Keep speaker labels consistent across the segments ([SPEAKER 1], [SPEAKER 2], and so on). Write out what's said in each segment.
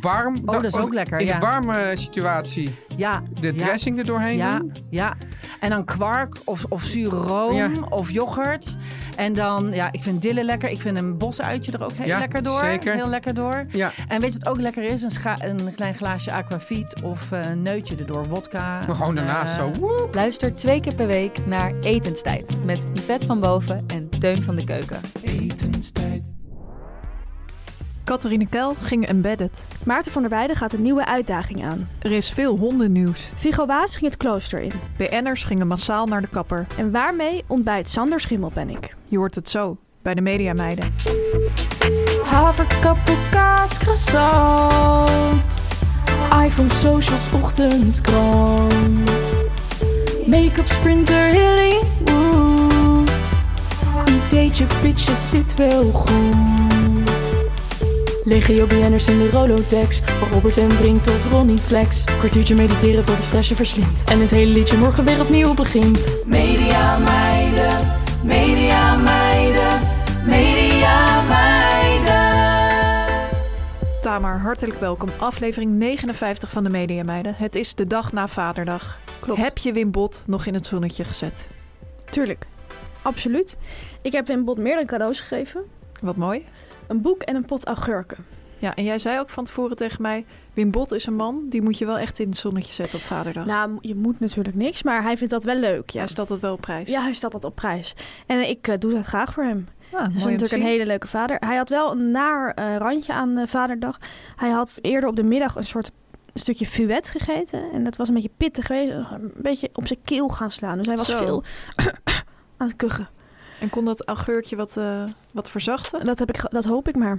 [SPEAKER 1] warm.
[SPEAKER 2] Oh, dat is ook lekker,
[SPEAKER 1] In
[SPEAKER 2] ja.
[SPEAKER 1] een warme situatie
[SPEAKER 2] Ja.
[SPEAKER 1] de
[SPEAKER 2] ja.
[SPEAKER 1] dressing er doorheen
[SPEAKER 2] Ja,
[SPEAKER 1] doen.
[SPEAKER 2] ja. En dan kwark of, of zure room
[SPEAKER 1] Ja.
[SPEAKER 2] of yoghurt. En dan, ja, ik vind dille lekker. Ik vind een bosuitje er ook heel
[SPEAKER 1] Ja,
[SPEAKER 2] lekker door.
[SPEAKER 1] zeker.
[SPEAKER 2] Heel lekker door.
[SPEAKER 1] Ja.
[SPEAKER 2] En weet je wat ook lekker is? Een, scha- een klein glaasje aquavit of eh, een neutje erdoor. Wodka.
[SPEAKER 1] Maar gewoon daarnaast
[SPEAKER 2] Eh,
[SPEAKER 1] zo. woep.
[SPEAKER 3] Luister twee keer per week naar Etenstijd met Yvette van Boven en Teun van de Keuken.
[SPEAKER 4] Catharine Kuil ging embedded.
[SPEAKER 5] Maarten van der Weijden gaat een nieuwe uitdaging aan.
[SPEAKER 4] Er is veel hondennieuws.
[SPEAKER 5] Viggo Waas ging het klooster in.
[SPEAKER 4] BN'ers gingen massaal naar de kapper.
[SPEAKER 5] En waarmee ontbijt Sander Schimmelpenninck?
[SPEAKER 4] Je hoort het zo bij de Mediameiden.
[SPEAKER 6] Haverkappelkaas, croissant. iPhone, socials, ochtendkrant. Make-up, sprinter, Hollywood. Ideetje, pitje, zit wel goed. Legio BN'ers in de Rolodex. Van Robert en Brink tot Ronnie Flex. Kwartiertje mediteren voor die stress je verslindt. En het hele liedje morgen weer opnieuw begint. Media meiden, media meiden, media meiden.
[SPEAKER 4] Tamar, hartelijk welkom. Aflevering 59 van de Mediameiden. Het is de dag na Vaderdag.
[SPEAKER 5] Klopt.
[SPEAKER 4] Heb je Wim Bot nog in het zonnetje gezet?
[SPEAKER 5] Tuurlijk. Absoluut. Ik heb Wim Bot meerdere cadeaus gegeven.
[SPEAKER 4] Wat mooi.
[SPEAKER 5] Een boek en een pot augurken.
[SPEAKER 4] Ja, en jij zei ook van tevoren tegen mij... Wim Bot is een man, die moet je wel echt in het zonnetje zetten op Vaderdag.
[SPEAKER 5] Nou, je moet natuurlijk niks, maar hij vindt dat wel leuk. Ja,
[SPEAKER 4] Hij stelt het wel op prijs.
[SPEAKER 5] ja hij stelt dat op prijs. En eh, ik eh, doe dat graag voor hem.
[SPEAKER 4] Ah, mooi
[SPEAKER 5] Hij is
[SPEAKER 4] om te
[SPEAKER 5] natuurlijk
[SPEAKER 4] zien.
[SPEAKER 5] een hele leuke vader. Hij had wel een naar eh, randje aan eh, vaderdag. Hij had eerder op de middag een soort stukje fuet gegeten. En dat was een beetje pittig geweest. Een beetje op zijn keel gaan slaan. Dus hij was
[SPEAKER 4] Zo.
[SPEAKER 5] veel aan het kuchen.
[SPEAKER 4] En kon dat augurkje wat, eh, wat verzachten?
[SPEAKER 5] Dat, heb ik, ge- dat hoop ik maar.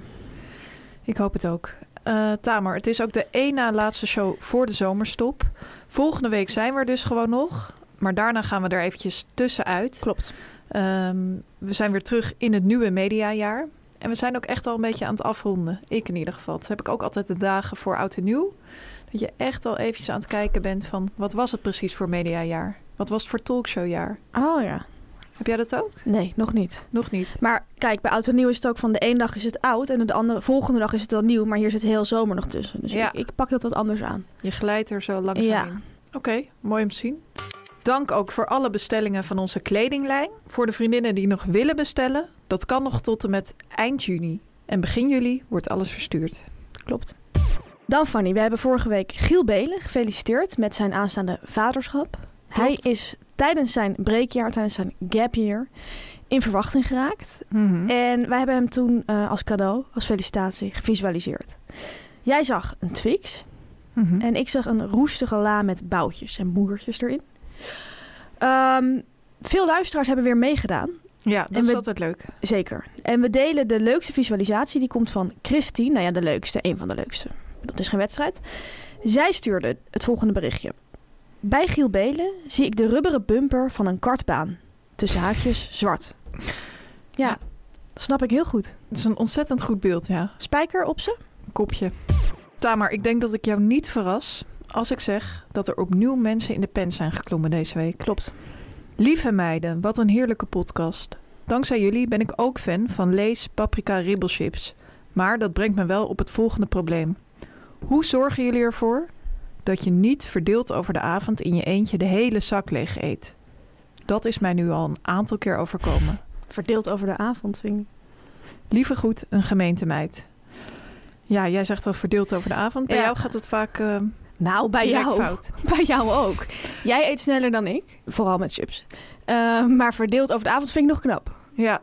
[SPEAKER 4] Ik hoop het ook. Eh Tamer, het is ook de één na laatste show voor de zomerstop. Volgende week zijn we er dus gewoon nog. Maar daarna gaan we er eventjes tussenuit.
[SPEAKER 5] Klopt.
[SPEAKER 4] Ehm, we zijn weer terug in het nieuwe mediajaar. En we zijn ook echt al een beetje aan het afronden. Ik in ieder geval. Dat heb ik ook altijd de dagen voor oud en nieuw. Dat je echt al eventjes aan het kijken bent van... wat was het precies voor mediajaar? Wat was het voor talkshowjaar?
[SPEAKER 5] Oh ja.
[SPEAKER 4] Heb jij dat ook?
[SPEAKER 5] Nee, nog niet.
[SPEAKER 4] Nog niet.
[SPEAKER 5] Maar kijk, bij oud en nieuw is het ook van de ene dag is het oud. En de andere, volgende dag is het dan nieuw. Maar hier zit heel zomer nog tussen. Dus
[SPEAKER 4] Ja.
[SPEAKER 5] ik, ik pak dat wat anders aan.
[SPEAKER 4] Je glijdt er zo langs
[SPEAKER 5] Ja.
[SPEAKER 4] heen. Oké, mooi om te zien. Dank ook voor alle bestellingen van onze kledinglijn. Voor de vriendinnen die nog willen bestellen, dat kan nog tot en met eind juni. En begin juli wordt alles verstuurd.
[SPEAKER 5] Klopt. Dan Fanny, we hebben vorige week Giel Belen gefeliciteerd met zijn aanstaande vaderschap. Hij is tijdens zijn breekjaar, tijdens zijn gap year, in verwachting geraakt.
[SPEAKER 4] Mhm. Hm?
[SPEAKER 5] En wij hebben hem toen eh, als cadeau, als felicitatie, gevisualiseerd. Jij zag een Twix
[SPEAKER 4] Mhm.
[SPEAKER 5] en ik zag een roestige la met boutjes en moertjes erin. Ehm, veel luisteraars hebben weer meegedaan,
[SPEAKER 4] Ja, dat
[SPEAKER 5] En
[SPEAKER 4] is
[SPEAKER 5] we-
[SPEAKER 4] altijd leuk.
[SPEAKER 5] zeker. En we delen de leukste visualisatie, die komt van Christine. Nou ja, de leukste, een van de leukste. Dat is geen wedstrijd. Zij stuurde het volgende berichtje. Bij Giel Belen zie ik de rubberen bumper van een kartbaan. Tussen haakjes zwart. Ja, dat snap ik heel goed.
[SPEAKER 4] Het is een ontzettend goed beeld, ja.
[SPEAKER 5] Spijker op ze?
[SPEAKER 4] Een kopje. Tamar, ik denk dat ik jou niet verras als ik zeg dat er opnieuw mensen in de pen zijn geklommen deze week.
[SPEAKER 5] Klopt.
[SPEAKER 4] Lieve meiden, wat een heerlijke podcast. Dankzij jullie ben ik ook fan van Lees Paprika Ribbelchips. Maar dat brengt me wel op het volgende probleem. Hoe zorgen jullie ervoor dat je niet verdeeld over de avond in je eentje de hele zak leeg eet? Dat is mij nu al een aantal keer overkomen.
[SPEAKER 5] Verdeeld over de avond, vind ik.
[SPEAKER 4] Liever goed een gemeentemeid. Ja, jij zegt al verdeeld over de avond. Bij
[SPEAKER 5] Ja.
[SPEAKER 4] jou gaat het vaak eh
[SPEAKER 5] Nou, bij
[SPEAKER 4] direct
[SPEAKER 5] jou.
[SPEAKER 4] fout.
[SPEAKER 5] Bij jou ook. Jij eet sneller dan ik. Vooral met chips. Eh, maar verdeeld over de avond vind ik nog knap.
[SPEAKER 4] Ja,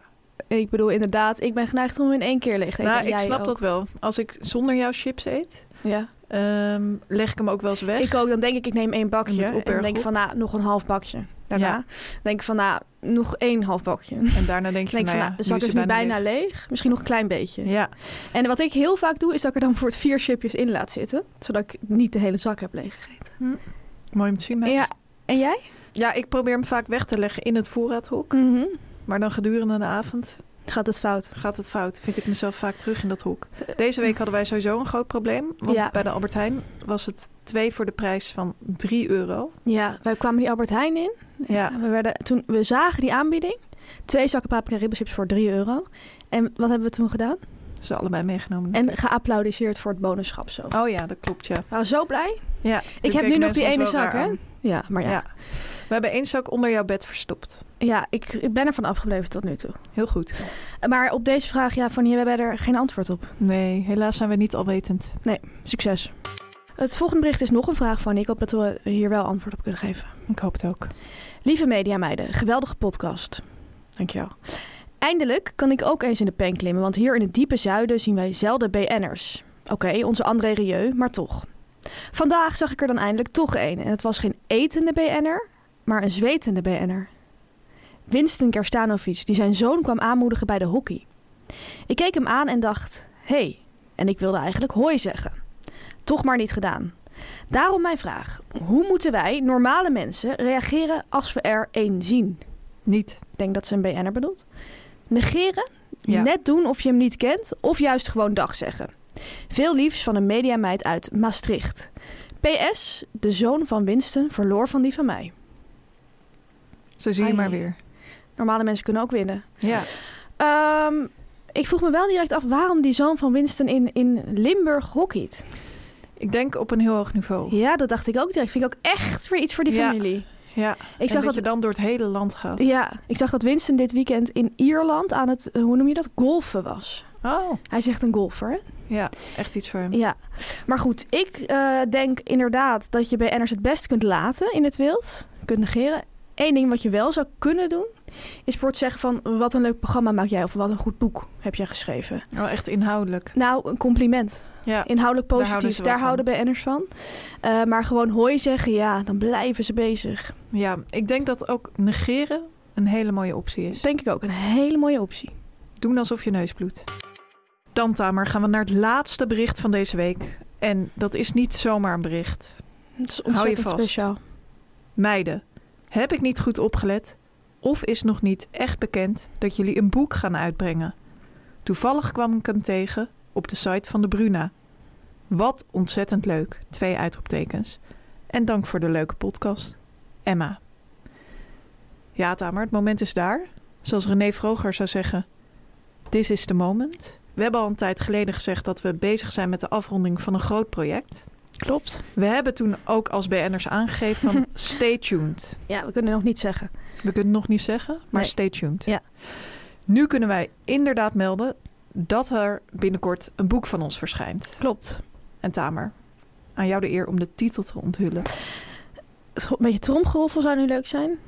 [SPEAKER 5] Ik bedoel, inderdaad, ik ben geneigd om in één keer leeg te eten.
[SPEAKER 4] nou,
[SPEAKER 5] En
[SPEAKER 4] ik
[SPEAKER 5] jij
[SPEAKER 4] snap
[SPEAKER 5] ook.
[SPEAKER 4] dat wel. Als ik zonder jou chips eet,
[SPEAKER 5] Ja.
[SPEAKER 4] ehm, leg ik hem ook wel eens weg.
[SPEAKER 5] Ik ook, dan denk ik, ik neem één bakje.
[SPEAKER 4] Met
[SPEAKER 5] En dan denk
[SPEAKER 4] opbergop.
[SPEAKER 5] ik van, nou, nog een half bakje. Daarna
[SPEAKER 4] Ja.
[SPEAKER 5] denk ik van, nou, nog één half bakje. Dan
[SPEAKER 4] en daarna denk je
[SPEAKER 5] denk ik
[SPEAKER 4] van,
[SPEAKER 5] van,
[SPEAKER 4] nou
[SPEAKER 5] nou,
[SPEAKER 4] ja,
[SPEAKER 5] de zak
[SPEAKER 4] nu
[SPEAKER 5] is
[SPEAKER 4] is
[SPEAKER 5] nu
[SPEAKER 4] het
[SPEAKER 5] bijna leeg. Misschien nog een klein beetje.
[SPEAKER 4] Ja,
[SPEAKER 5] En wat ik heel vaak doe, is dat ik er dan voor het vier chipjes in laat zitten. Zodat ik niet de hele zak heb leeggegeten.
[SPEAKER 4] mooi om te zien. meis.
[SPEAKER 5] Ja. En jij?
[SPEAKER 4] ja, ik probeer hem vaak weg te leggen in het voorraadhok.
[SPEAKER 5] Mhm.
[SPEAKER 4] Maar dan gedurende de avond
[SPEAKER 5] Gaat het fout?
[SPEAKER 4] gaat het fout. Vind ik mezelf vaak terug in dat hoek. Deze week hadden wij sowieso een groot probleem. Want
[SPEAKER 5] Ja.
[SPEAKER 4] bij de Albert Heijn was het twee voor de prijs van 3 euro.
[SPEAKER 5] Ja, wij kwamen die Albert Heijn in.
[SPEAKER 4] Ja,
[SPEAKER 5] Nou, We, werden, toen, we zagen die aanbieding. Twee zakken paprika ribbenchips voor 3 euro. En wat hebben we toen gedaan?
[SPEAKER 4] ze allebei meegenomen.
[SPEAKER 5] En geapplaudiseerd voor het bonusschap zo.
[SPEAKER 4] Oh ja, dat klopt, ja.
[SPEAKER 5] We waren zo blij.
[SPEAKER 4] ja
[SPEAKER 5] Ik
[SPEAKER 4] dit
[SPEAKER 5] heb nu
[SPEAKER 4] denken
[SPEAKER 5] nog die
[SPEAKER 4] mensen
[SPEAKER 5] ene
[SPEAKER 4] ons wel
[SPEAKER 5] zak,
[SPEAKER 4] raar
[SPEAKER 5] hè?
[SPEAKER 4] aan.
[SPEAKER 5] Ja, maar ja.
[SPEAKER 4] Ja.
[SPEAKER 5] Ja,
[SPEAKER 4] We hebben één zak onder jouw bed verstopt.
[SPEAKER 5] ik, ik ben ervan afgebleven tot nu toe.
[SPEAKER 4] Heel goed.
[SPEAKER 5] Maar op deze vraag, ja, van hier, we hebben er geen antwoord op.
[SPEAKER 4] Nee, helaas zijn we niet alwetend.
[SPEAKER 5] Succes. Het volgende bericht is nog een vraag van. Ik hoop dat we hier wel antwoord op kunnen geven.
[SPEAKER 4] Ik hoop het ook.
[SPEAKER 5] Lieve mediameiden, geweldige podcast. Dankjewel. Eindelijk kan ik ook eens in de pen klimmen, want hier in het diepe zuiden zien wij zelden BN'ers. Oké, onze André Rieu, maar toch. Vandaag zag ik er dan eindelijk toch een en het was geen etende BN'er, maar een zwetende BN'er. Winston Kerstanovic, die zijn zoon kwam aanmoedigen bij de hockey. Ik keek hem aan en dacht, hé, hey. en ik wilde eigenlijk hoi zeggen. Toch maar niet gedaan. Daarom mijn vraag. Hoe moeten wij, normale mensen, reageren als we er één zien?
[SPEAKER 4] Niet.
[SPEAKER 5] Ik denk dat ze een BN'er bedoelt. Negeren,
[SPEAKER 4] Ja.
[SPEAKER 5] net doen of je hem niet kent... of juist gewoon dag zeggen. Veel liefs van een mediameid uit Maastricht. PS, de zoon van Winston verloor van die van mij.
[SPEAKER 4] Zo zie je
[SPEAKER 5] Ai.
[SPEAKER 4] maar weer.
[SPEAKER 5] Normale mensen kunnen ook winnen.
[SPEAKER 4] Ja.
[SPEAKER 5] Ehm, ik vroeg me wel direct af waarom die zoon van Winston in, in Limburg hockeyt.
[SPEAKER 4] Ik denk op een heel hoog niveau.
[SPEAKER 5] Ja, dat dacht ik ook direct. Vind ik ook echt weer iets voor die
[SPEAKER 4] Oh. Ja.
[SPEAKER 5] familie.
[SPEAKER 4] Ja.
[SPEAKER 5] Ik zag
[SPEAKER 4] dat
[SPEAKER 5] dat
[SPEAKER 4] je dan door het hele land gaat.
[SPEAKER 5] Ja, ik zag dat Winston dit weekend in Ierland aan het, eh, hoe noem je dat, golfen was.
[SPEAKER 4] Oh.
[SPEAKER 5] Hij zegt een golfer, hè?
[SPEAKER 4] Ja, echt iets voor hem.
[SPEAKER 5] Ja. Maar goed, ik eh, denk inderdaad dat je BN'ers het best kunt laten in het wild. Kunt negeren. Eén ding wat je wel zou kunnen doen, is voor het zeggen van... wat een leuk programma maak jij of wat een goed boek heb jij geschreven.
[SPEAKER 4] Oh, echt inhoudelijk.
[SPEAKER 5] Nou, een compliment.
[SPEAKER 4] Ja.
[SPEAKER 5] Inhoudelijk
[SPEAKER 4] Daar houden
[SPEAKER 5] positief,
[SPEAKER 4] ze wel
[SPEAKER 5] daar
[SPEAKER 4] van.
[SPEAKER 5] houden, BN'ers van. Eh, maar gewoon hooi zeggen, ja, dan blijven ze bezig.
[SPEAKER 4] ja, ik denk dat ook negeren een hele mooie optie is.
[SPEAKER 5] Denk ik ook, een hele mooie optie.
[SPEAKER 4] Doen alsof je neus bloedt. Dan, Tamer, gaan we naar het laatste bericht van deze week. En dat is niet zomaar een bericht.
[SPEAKER 5] Het is
[SPEAKER 4] Hou je
[SPEAKER 5] ontzettend
[SPEAKER 4] vast.
[SPEAKER 5] speciaal.
[SPEAKER 4] Meiden, heb ik niet goed opgelet? Of is nog niet echt bekend dat jullie een boek gaan uitbrengen? Toevallig kwam ik hem tegen op de site van de Bruna. Wat ontzettend leuk, twee uitroeptekens. En dank voor de leuke podcast. Emma. Ja, Tamer, het moment is daar. Zoals René Vroger zou zeggen, this is the moment. We hebben al een tijd geleden gezegd dat we bezig zijn met de afronding van een groot project.
[SPEAKER 5] Klopt.
[SPEAKER 4] We hebben toen ook als BN'ers aangegeven van stay tuned.
[SPEAKER 5] Ja, we kunnen nog niet zeggen.
[SPEAKER 4] We kunnen het nog niet zeggen, maar
[SPEAKER 5] Nee.
[SPEAKER 4] stay tuned.
[SPEAKER 5] Ja.
[SPEAKER 4] Nu kunnen wij inderdaad melden dat er binnenkort een boek van ons verschijnt.
[SPEAKER 5] Klopt.
[SPEAKER 4] En Tamer, aan jou de eer om de titel te onthullen.
[SPEAKER 5] Een beetje tromgeroffel zou nu leuk zijn.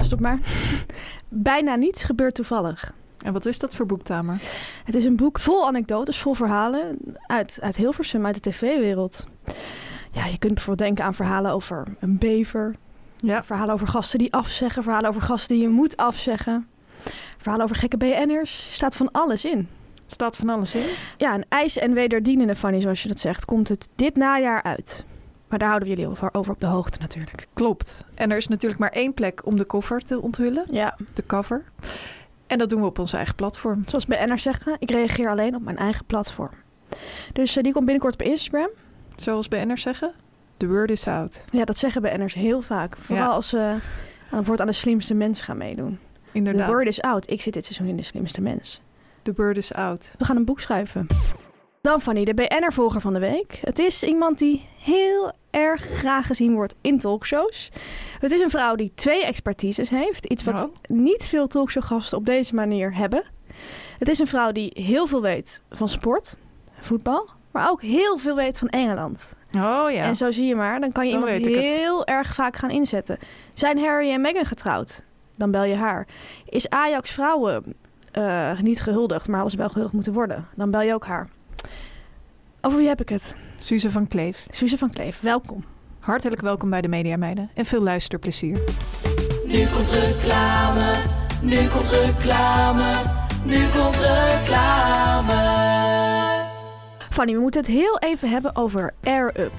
[SPEAKER 5] Stop maar. Bijna niets gebeurt toevallig.
[SPEAKER 4] En wat is dat voor boek, Tamer?
[SPEAKER 5] Het is een boek vol anekdotes, vol verhalen uit, uit Hilversum, uit de tv-wereld. Ja, je kunt bijvoorbeeld denken aan verhalen over een bever.
[SPEAKER 4] Ja.
[SPEAKER 5] Verhalen over gasten die afzeggen. Verhalen over gasten die je moet afzeggen. Verhalen over gekke BN'ers. Er staat van alles in.
[SPEAKER 4] Staat van alles in?
[SPEAKER 5] Ja, een ijs- en wederdienende Fanny, zoals je dat zegt, komt het dit najaar uit. Maar daar houden we jullie over, over op de hoogte natuurlijk.
[SPEAKER 4] Klopt. En er is natuurlijk maar één plek om de cover te onthullen.
[SPEAKER 5] Ja,
[SPEAKER 4] De cover. En dat doen we op ons eigen platform.
[SPEAKER 5] zoals BN'ers zeggen, ik reageer alleen op mijn eigen platform. Dus eh, die komt binnenkort op Instagram.
[SPEAKER 4] Zoals BN'ers zeggen, the word is out.
[SPEAKER 5] Ja, dat zeggen BN'ers heel vaak. Vooral
[SPEAKER 4] Ja.
[SPEAKER 5] als ze aan- bijvoorbeeld aan de slimste mens gaan meedoen.
[SPEAKER 4] Inderdaad,
[SPEAKER 5] The word is out. Ik zit dit seizoen in de slimste mens.
[SPEAKER 4] the word is out.
[SPEAKER 5] We gaan een boek schrijven. Dan Fanny, de BN'er-volger van de week. Het is iemand die heel erg graag gezien wordt in talkshows. Het is een vrouw die twee expertises heeft. Iets wat
[SPEAKER 4] Nou.
[SPEAKER 5] niet veel talkshowgasten op deze manier hebben. Het is een vrouw die heel veel weet van sport, voetbal, maar ook heel veel weet van Engeland.
[SPEAKER 4] Oh ja.
[SPEAKER 5] En zo zie je maar, dan kan je
[SPEAKER 4] Dan
[SPEAKER 5] iemand
[SPEAKER 4] weet ik het.
[SPEAKER 5] heel erg vaak gaan inzetten. Zijn Harry en Meghan getrouwd? Dan bel je haar. Is Ajax vrouwen eh, niet gehuldigd, maar hadden ze wel gehuldigd moeten worden? Dan bel je ook haar. Over wie heb ik het?
[SPEAKER 4] Suze van Kleef.
[SPEAKER 5] Suze van Kleef, welkom.
[SPEAKER 4] Hartelijk welkom bij de Media Meiden en veel luisterplezier.
[SPEAKER 7] Nu komt reclame, nu komt reclame, nu komt reclame.
[SPEAKER 5] Fanny, we moeten het heel even hebben over Air Up.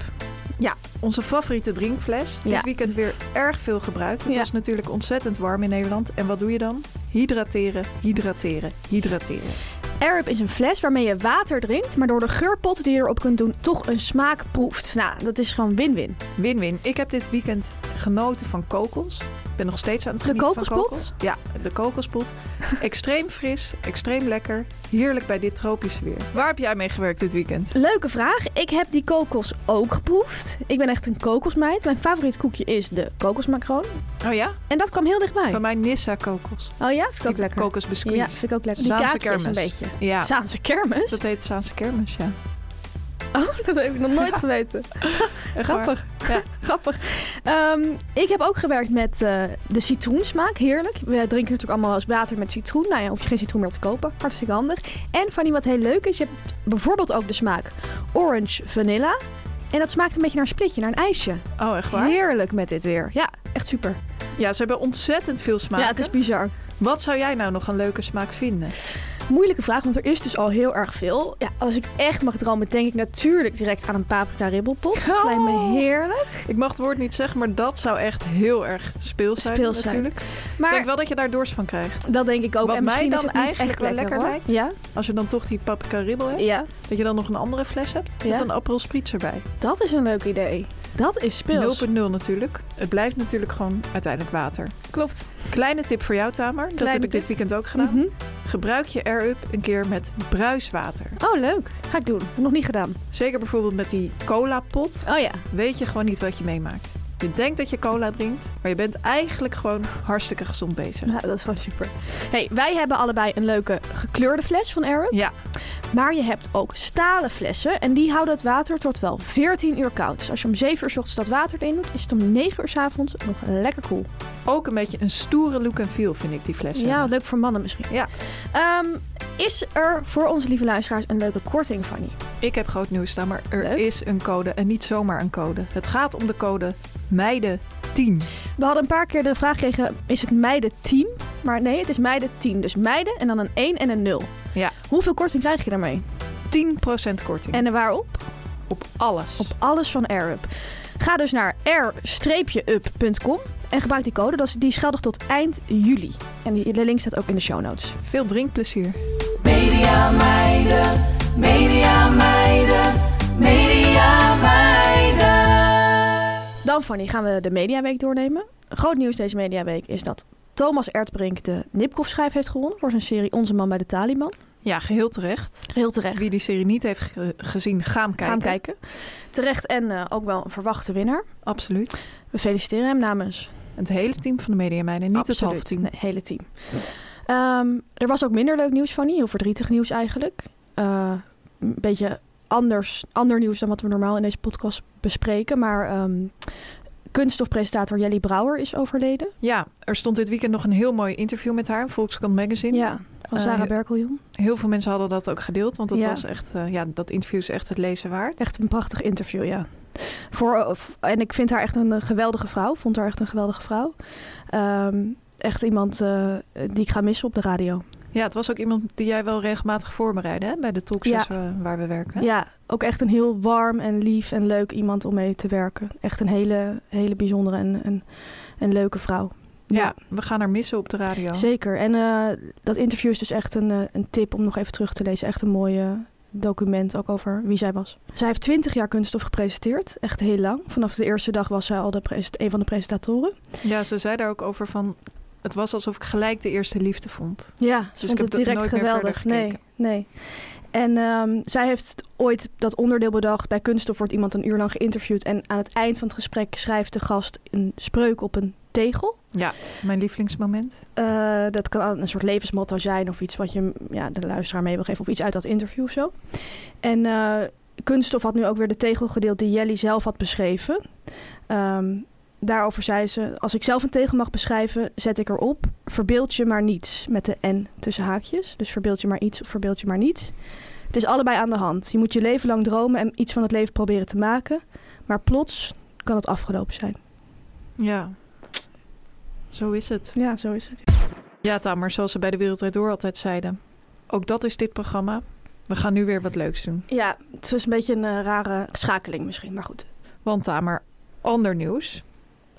[SPEAKER 4] Onze favoriete drinkfles.
[SPEAKER 5] Ja.
[SPEAKER 4] Dit weekend weer erg veel gebruikt. Het
[SPEAKER 5] Ja.
[SPEAKER 4] was natuurlijk ontzettend warm in Nederland. En wat doe je dan? Hydrateren, hydrateren, hydrateren.
[SPEAKER 5] Air Up is een fles waarmee je water drinkt, maar door de geurpot die je erop kunt doen, toch een smaak proeft. Nou, dat is gewoon win-win.
[SPEAKER 4] Win-win. Ik heb dit weekend genoten van kokos. Ik ben nog steeds aan het
[SPEAKER 5] De
[SPEAKER 4] genieten
[SPEAKER 5] kokospot?
[SPEAKER 4] van kokos. Ja, de kokospot. extreem fris, extreem lekker. Heerlijk bij dit tropische weer. Waar heb jij mee gewerkt dit weekend?
[SPEAKER 5] Leuke vraag. Ik heb die kokos ook geproefd. Ik ben echt een kokosmeid. Mijn favoriet koekje is de kokosmacroon.
[SPEAKER 4] Oh ja?
[SPEAKER 5] En dat kwam heel dichtbij.
[SPEAKER 4] Van mijn Nissa kokos.
[SPEAKER 5] Oh ja, vind ik ook
[SPEAKER 4] Die
[SPEAKER 5] lekker.
[SPEAKER 4] Kokosbiscuit.
[SPEAKER 5] Ja, vind ik ook lekker. Die
[SPEAKER 4] Zaanse
[SPEAKER 5] kaakjes een
[SPEAKER 4] kermis.
[SPEAKER 5] beetje.
[SPEAKER 4] Ja.
[SPEAKER 5] Zaanse kermis?
[SPEAKER 4] Dat heet Zaanse kermis, ja.
[SPEAKER 5] Oh, dat heb ik nog nooit geweten.
[SPEAKER 4] Echt
[SPEAKER 5] Grappig. Ja, grappig. Ehm, ik heb ook gewerkt met eh, de citroensmaak. Heerlijk. We drinken natuurlijk allemaal wel eens water met citroen. Nou ja, hoef je geen citroen meer te kopen. Hartstikke handig. En van die wat heel leuk is, je hebt bijvoorbeeld ook de smaak orange vanilla. En dat smaakt een beetje naar een splitje, naar een ijsje.
[SPEAKER 4] waar. Oh, echt waar?
[SPEAKER 5] Heerlijk met dit weer. Ja, echt super.
[SPEAKER 4] Ja, ze hebben ontzettend veel smaak.
[SPEAKER 5] Ja, het is bizar.
[SPEAKER 4] Wat zou jij nou nog een leuke smaak vinden?
[SPEAKER 5] Moeilijke vraag, want er is dus al heel erg veel. Ja, als ik echt mag dromen, denk ik natuurlijk direct aan een paprika ribbelpot.
[SPEAKER 4] Oh.
[SPEAKER 5] Lijkt me heerlijk.
[SPEAKER 4] Ik mag het woord niet zeggen, maar dat zou echt heel erg speels zijn
[SPEAKER 5] Speels zijn.
[SPEAKER 4] natuurlijk. Ik
[SPEAKER 5] Maar
[SPEAKER 4] denk wel dat je daar dorst van krijgt.
[SPEAKER 5] dat denk ik ook.
[SPEAKER 4] Wat
[SPEAKER 5] en misschien
[SPEAKER 4] mij
[SPEAKER 5] is
[SPEAKER 4] dan
[SPEAKER 5] het niet
[SPEAKER 4] eigenlijk
[SPEAKER 5] echt
[SPEAKER 4] wel
[SPEAKER 5] lekker,
[SPEAKER 4] lekker
[SPEAKER 5] hoor. Ja,
[SPEAKER 4] Als je dan toch die paprika ribbel hebt,
[SPEAKER 5] ja,
[SPEAKER 4] dat je dan nog een andere fles hebt
[SPEAKER 5] Ja.
[SPEAKER 4] met een appel spritz erbij.
[SPEAKER 5] dat is een leuk idee. Dat is speels.
[SPEAKER 4] 0.0 natuurlijk. Het blijft natuurlijk gewoon uiteindelijk water.
[SPEAKER 5] Klopt.
[SPEAKER 4] Kleine tip voor jou, Tamer. dat
[SPEAKER 5] Kleine
[SPEAKER 4] heb ik
[SPEAKER 5] tip.
[SPEAKER 4] dit weekend ook gedaan.
[SPEAKER 5] Mhm.
[SPEAKER 4] Gebruik je Air-Up een keer met bruiswater.
[SPEAKER 5] Oh, leuk. Ga ik doen. Nog niet gedaan.
[SPEAKER 4] Zeker bijvoorbeeld met die cola-pot.
[SPEAKER 5] Oh ja.
[SPEAKER 4] weet je gewoon niet wat je meemaakt. Je denkt dat je cola drinkt, maar je bent eigenlijk gewoon hartstikke gezond bezig.
[SPEAKER 5] Nou, dat is gewoon super. Hey, wij hebben allebei een leuke gekleurde fles van Aaron.
[SPEAKER 4] Ja,
[SPEAKER 5] Maar je hebt ook stalen flessen en die houden het water tot wel 14 uur koud. Dus als je om 7 uur 's ochtends dat water erin doet, is het om 9 uur 's avonds nog lekker koel.
[SPEAKER 4] ook een beetje een stoere look en feel vind ik die fles.
[SPEAKER 5] Ja,
[SPEAKER 4] hebben.
[SPEAKER 5] leuk voor mannen misschien.
[SPEAKER 4] Ja.
[SPEAKER 5] Ehm, is er voor onze lieve luisteraars een leuke korting, Fanny?
[SPEAKER 4] Ik heb groot nieuws staan, maar er
[SPEAKER 5] Leuk.
[SPEAKER 4] is een code en niet zomaar een code. Het gaat om de code meiden10.
[SPEAKER 5] We hadden een paar keer de vraag gekregen, is het meiden 10? Maar nee, het is meiden 10. Dus meiden en dan een 1 en een 0.
[SPEAKER 4] Ja.
[SPEAKER 5] Hoeveel korting krijg je daarmee?
[SPEAKER 4] 10% korting
[SPEAKER 5] En waarop?
[SPEAKER 4] op alles.
[SPEAKER 5] Op alles van AirUp. Ga dus naar air-up.com en gebruik die code. Dat is- Die is geldig tot eind juli. En die, de link staat ook in de show notes.
[SPEAKER 4] Veel drinkplezier.
[SPEAKER 7] Media meiden, media meiden, media meiden.
[SPEAKER 5] Dan Fanny, gaan we de Mediaweek doornemen. Groot nieuws deze Mediaweek is dat Thomas Erdbrink de Nipkoff-schijf heeft gewonnen... voor zijn serie Onze Man bij de Taliban.
[SPEAKER 4] Ja, geheel terecht.
[SPEAKER 5] Heel terecht.
[SPEAKER 4] Wie die serie niet heeft ge- gezien, ga hem
[SPEAKER 5] Gaan
[SPEAKER 4] kijken.
[SPEAKER 5] hem kijken. Terecht en eh, ook wel een verwachte winnaar.
[SPEAKER 4] Absoluut.
[SPEAKER 5] We feliciteren hem namens
[SPEAKER 4] Het hele team van de Media Meiden, niet het
[SPEAKER 5] Absoluut.
[SPEAKER 4] halve team.
[SPEAKER 5] Nee, hele team. Ehm, er was ook minder leuk nieuws van Heel verdrietig nieuws eigenlijk. Eh, een beetje anders, ander nieuws dan wat we normaal in deze podcast bespreken. Maar ehm kunststofpresentator Jelly Brouwer is overleden.
[SPEAKER 4] Ja, er stond dit weekend nog een heel mooi interview met haar in Volkskrant Magazine.
[SPEAKER 5] Ja, van
[SPEAKER 4] Eh,
[SPEAKER 5] Sarah
[SPEAKER 4] heel-
[SPEAKER 5] Berkeljon.
[SPEAKER 4] Heel veel mensen hadden dat ook gedeeld, want dat,
[SPEAKER 5] Ja.
[SPEAKER 4] was echt, eh, ja, dat interview is echt het lezen waard.
[SPEAKER 5] Echt een prachtig interview, ja. Voor, eh, v- en ik vind haar echt een eh, geweldige vrouw. Vond haar echt een geweldige vrouw. Ehm, echt iemand eh, die ik ga missen op de radio.
[SPEAKER 4] Ja, het was ook iemand die jij wel regelmatig voorbereidde hè, bij de talkshows eh, waar we werken.
[SPEAKER 5] Ja, ook echt een heel warm en lief en leuk iemand om mee te werken. Echt een hele, hele bijzondere en, en, en leuke vrouw.
[SPEAKER 4] Ja, we gaan haar missen op de radio.
[SPEAKER 5] Zeker. En eh, dat interview is dus echt een, eh, een tip om nog even terug te lezen. Echt een mooi eh, document ook over wie zij was. Zij heeft twintig jaar kunststof gepresenteerd. Echt heel lang. Vanaf de eerste dag was zij al de pres- een van de presentatoren.
[SPEAKER 4] Ja, ze zei daar ook over van, het was alsof ik gelijk de eerste liefde vond.
[SPEAKER 5] Ja, ze
[SPEAKER 4] Dus ik
[SPEAKER 5] vond
[SPEAKER 4] heb
[SPEAKER 5] het
[SPEAKER 4] dat
[SPEAKER 5] direct
[SPEAKER 4] nooit meer
[SPEAKER 5] geweldig.
[SPEAKER 4] verder
[SPEAKER 5] Nee,
[SPEAKER 4] gekeken.
[SPEAKER 5] nee. En ehm, zij heeft ooit dat onderdeel bedacht. Bij Kunststof wordt iemand een uur lang geïnterviewd. En aan het eind van het gesprek schrijft de gast een spreuk op een tegel.
[SPEAKER 4] Mijn lievelingsmoment.
[SPEAKER 5] Eh, dat kan een soort levensmotto zijn of iets wat je ja, de luisteraar mee wil geven. Of iets uit dat interview of zo. En eh, Kunststof had nu ook weer de tegel gedeeld die Jelly zelf had beschreven. Ehm, daarover zei ze, als ik zelf een tegel mag beschrijven, zet ik erop. Verbeeld je maar niets met de N tussen haakjes. Dus verbeeld je maar iets of verbeeld je maar niets. Het is allebei aan de hand. Je moet je leven lang dromen en iets van het leven proberen te maken. Maar plots kan het afgelopen zijn.
[SPEAKER 4] Ja. Zo is het.
[SPEAKER 5] Ja, zo is het.
[SPEAKER 4] Ja, Tamer, zoals ze bij de Wereldrijd Door altijd zeiden. Ook dat is dit programma. We gaan nu weer wat leuks doen.
[SPEAKER 5] Ja, het is een beetje een eh, rare schakeling misschien, maar goed.
[SPEAKER 4] Want Tamer, ander nieuws.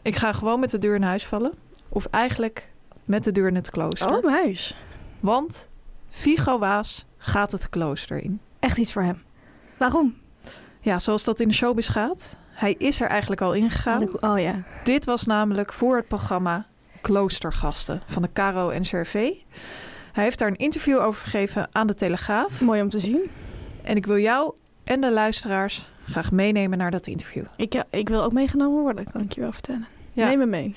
[SPEAKER 4] Ik ga gewoon met de deur in huis vallen. Of eigenlijk met de deur in het klooster.
[SPEAKER 5] Oh, meis.
[SPEAKER 4] Want Figo Waas gaat het klooster in.
[SPEAKER 5] Echt iets voor hem. Waarom?
[SPEAKER 4] Ja, zoals dat in de showbiz gaat. Hij is er eigenlijk al ingegaan.
[SPEAKER 5] Oh ja.
[SPEAKER 4] Dit was namelijk voor het programma Kloostergasten van de Caro en CRV. Hij heeft daar een interview over gegeven aan de Telegraaf.
[SPEAKER 5] Mooi om te zien.
[SPEAKER 4] En ik wil jou en de luisteraars graag meenemen naar dat interview.
[SPEAKER 5] Ik, ja, ik wil ook meegenomen worden, kan ik je wel vertellen.
[SPEAKER 4] Ja.
[SPEAKER 5] Neem me mee.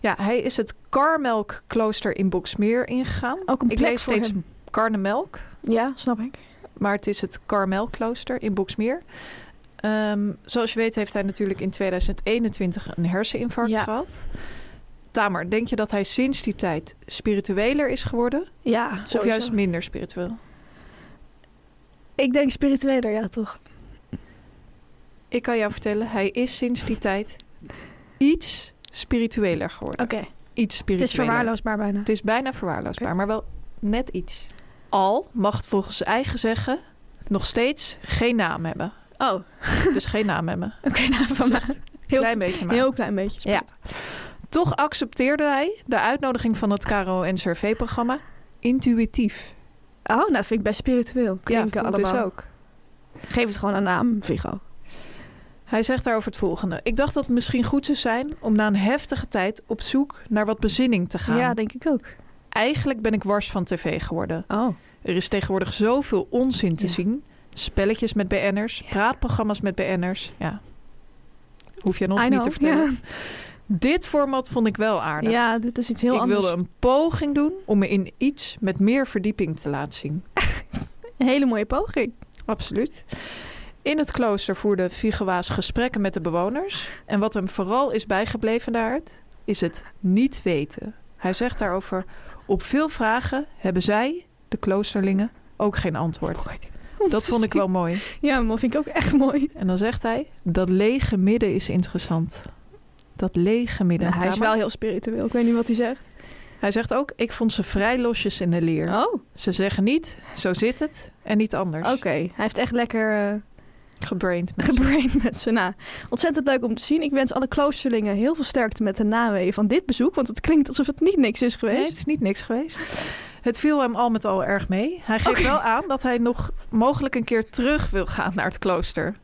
[SPEAKER 4] Ja, hij is het Karmelk Klooster in Boksmeer ingegaan.
[SPEAKER 5] Ook een
[SPEAKER 4] ik
[SPEAKER 5] plek
[SPEAKER 4] lees
[SPEAKER 5] voor
[SPEAKER 4] steeds
[SPEAKER 5] hem.
[SPEAKER 4] Karnemelk,
[SPEAKER 5] Ja, snap ik.
[SPEAKER 4] maar het is het Karmelklooster in Boksmeer. Ehm, zoals je weet heeft hij natuurlijk in 2021 een herseninfarct
[SPEAKER 5] Ja.
[SPEAKER 4] gehad. Tamer, denk je dat hij sinds die tijd spiritueler is geworden?
[SPEAKER 5] Ja,
[SPEAKER 4] Of
[SPEAKER 5] sowieso.
[SPEAKER 4] juist minder spiritueel?
[SPEAKER 5] Ik denk spiritueler, ja toch?
[SPEAKER 4] Ik kan jou vertellen, hij is sinds die tijd iets spiritueler geworden.
[SPEAKER 5] Oké,
[SPEAKER 4] Iets
[SPEAKER 5] Oh, het is
[SPEAKER 4] spiritueler.
[SPEAKER 5] verwaarloosbaar bijna.
[SPEAKER 4] Het is bijna verwaarloosbaar,
[SPEAKER 5] Oké.
[SPEAKER 4] maar wel net iets. Al mag volgens eigen zeggen nog steeds geen naam hebben.
[SPEAKER 5] Oh, oké,
[SPEAKER 4] Dus geen naam hebben.
[SPEAKER 5] nou, van mij. Heel
[SPEAKER 4] Klein beetje maar.
[SPEAKER 5] Heel klein beetje.
[SPEAKER 4] Ja. Toch accepteerde hij de uitnodiging van het Caro en CRV-programma intuïtief.
[SPEAKER 5] Oh, nou dat vind ik best spiritueel. Klinken
[SPEAKER 4] ja, vond ik
[SPEAKER 5] allemaal.
[SPEAKER 4] dus ook.
[SPEAKER 5] Geef het gewoon een naam, Vigo.
[SPEAKER 4] Hij zegt daarover het volgende. Ik dacht dat het misschien goed zou zijn om na een heftige tijd op zoek naar wat bezinning te gaan.
[SPEAKER 5] Ja, denk ik ook.
[SPEAKER 4] Eigenlijk ben ik wars van tv geworden.
[SPEAKER 5] Oh.
[SPEAKER 4] Er is tegenwoordig zoveel onzin te
[SPEAKER 5] Ja.
[SPEAKER 4] zien. Spelletjes met BN'ers, praatprogramma's met BN'ers. Ja. Hoef je aan ons
[SPEAKER 5] I
[SPEAKER 4] niet
[SPEAKER 5] know.
[SPEAKER 4] te vertellen. Dit format vond ik wel aardig.
[SPEAKER 5] Ja, dit is iets heel
[SPEAKER 4] ik
[SPEAKER 5] anders.
[SPEAKER 4] wilde een poging doen om me in iets met meer verdieping te laten zien.
[SPEAKER 5] Een hele mooie poging.
[SPEAKER 4] Absoluut. In het klooster voerde Vigewaas gesprekken met de bewoners. En wat hem vooral is bijgebleven daaruit, is het niet weten. Hij zegt daarover, op veel vragen hebben zij, de kloosterlingen, ook geen antwoord.
[SPEAKER 5] Om
[SPEAKER 4] Dat
[SPEAKER 5] te
[SPEAKER 4] vond ik
[SPEAKER 5] zien.
[SPEAKER 4] wel mooi.
[SPEAKER 5] Ja, maar vind ik ook echt mooi.
[SPEAKER 4] En dan zegt hij, dat lege midden is interessant. Dat lege midden.
[SPEAKER 5] Nou, hij is
[SPEAKER 4] Tamer.
[SPEAKER 5] wel heel spiritueel. Ik weet niet wat hij zegt.
[SPEAKER 4] hij zegt ook, ik vond ze vrij losjes in de leer.
[SPEAKER 5] Oh, oké.
[SPEAKER 4] Ze zeggen niet, zo zit het en niet anders.
[SPEAKER 5] Hij heeft echt lekker eh,
[SPEAKER 4] Gebrained. mensen.
[SPEAKER 5] gebraind met zijn na. Ontzettend leuk om te zien. Ik wens alle kloosterlingen heel veel sterkte met de naweeën van dit bezoek. Want het klinkt alsof het niet niks is
[SPEAKER 4] Nee, het
[SPEAKER 5] geweest.
[SPEAKER 4] is niet niks geweest. Het viel hem al met al erg mee. Hij geeft
[SPEAKER 5] Oké.
[SPEAKER 4] wel aan dat hij nog mogelijk een keer terug wil gaan naar het klooster.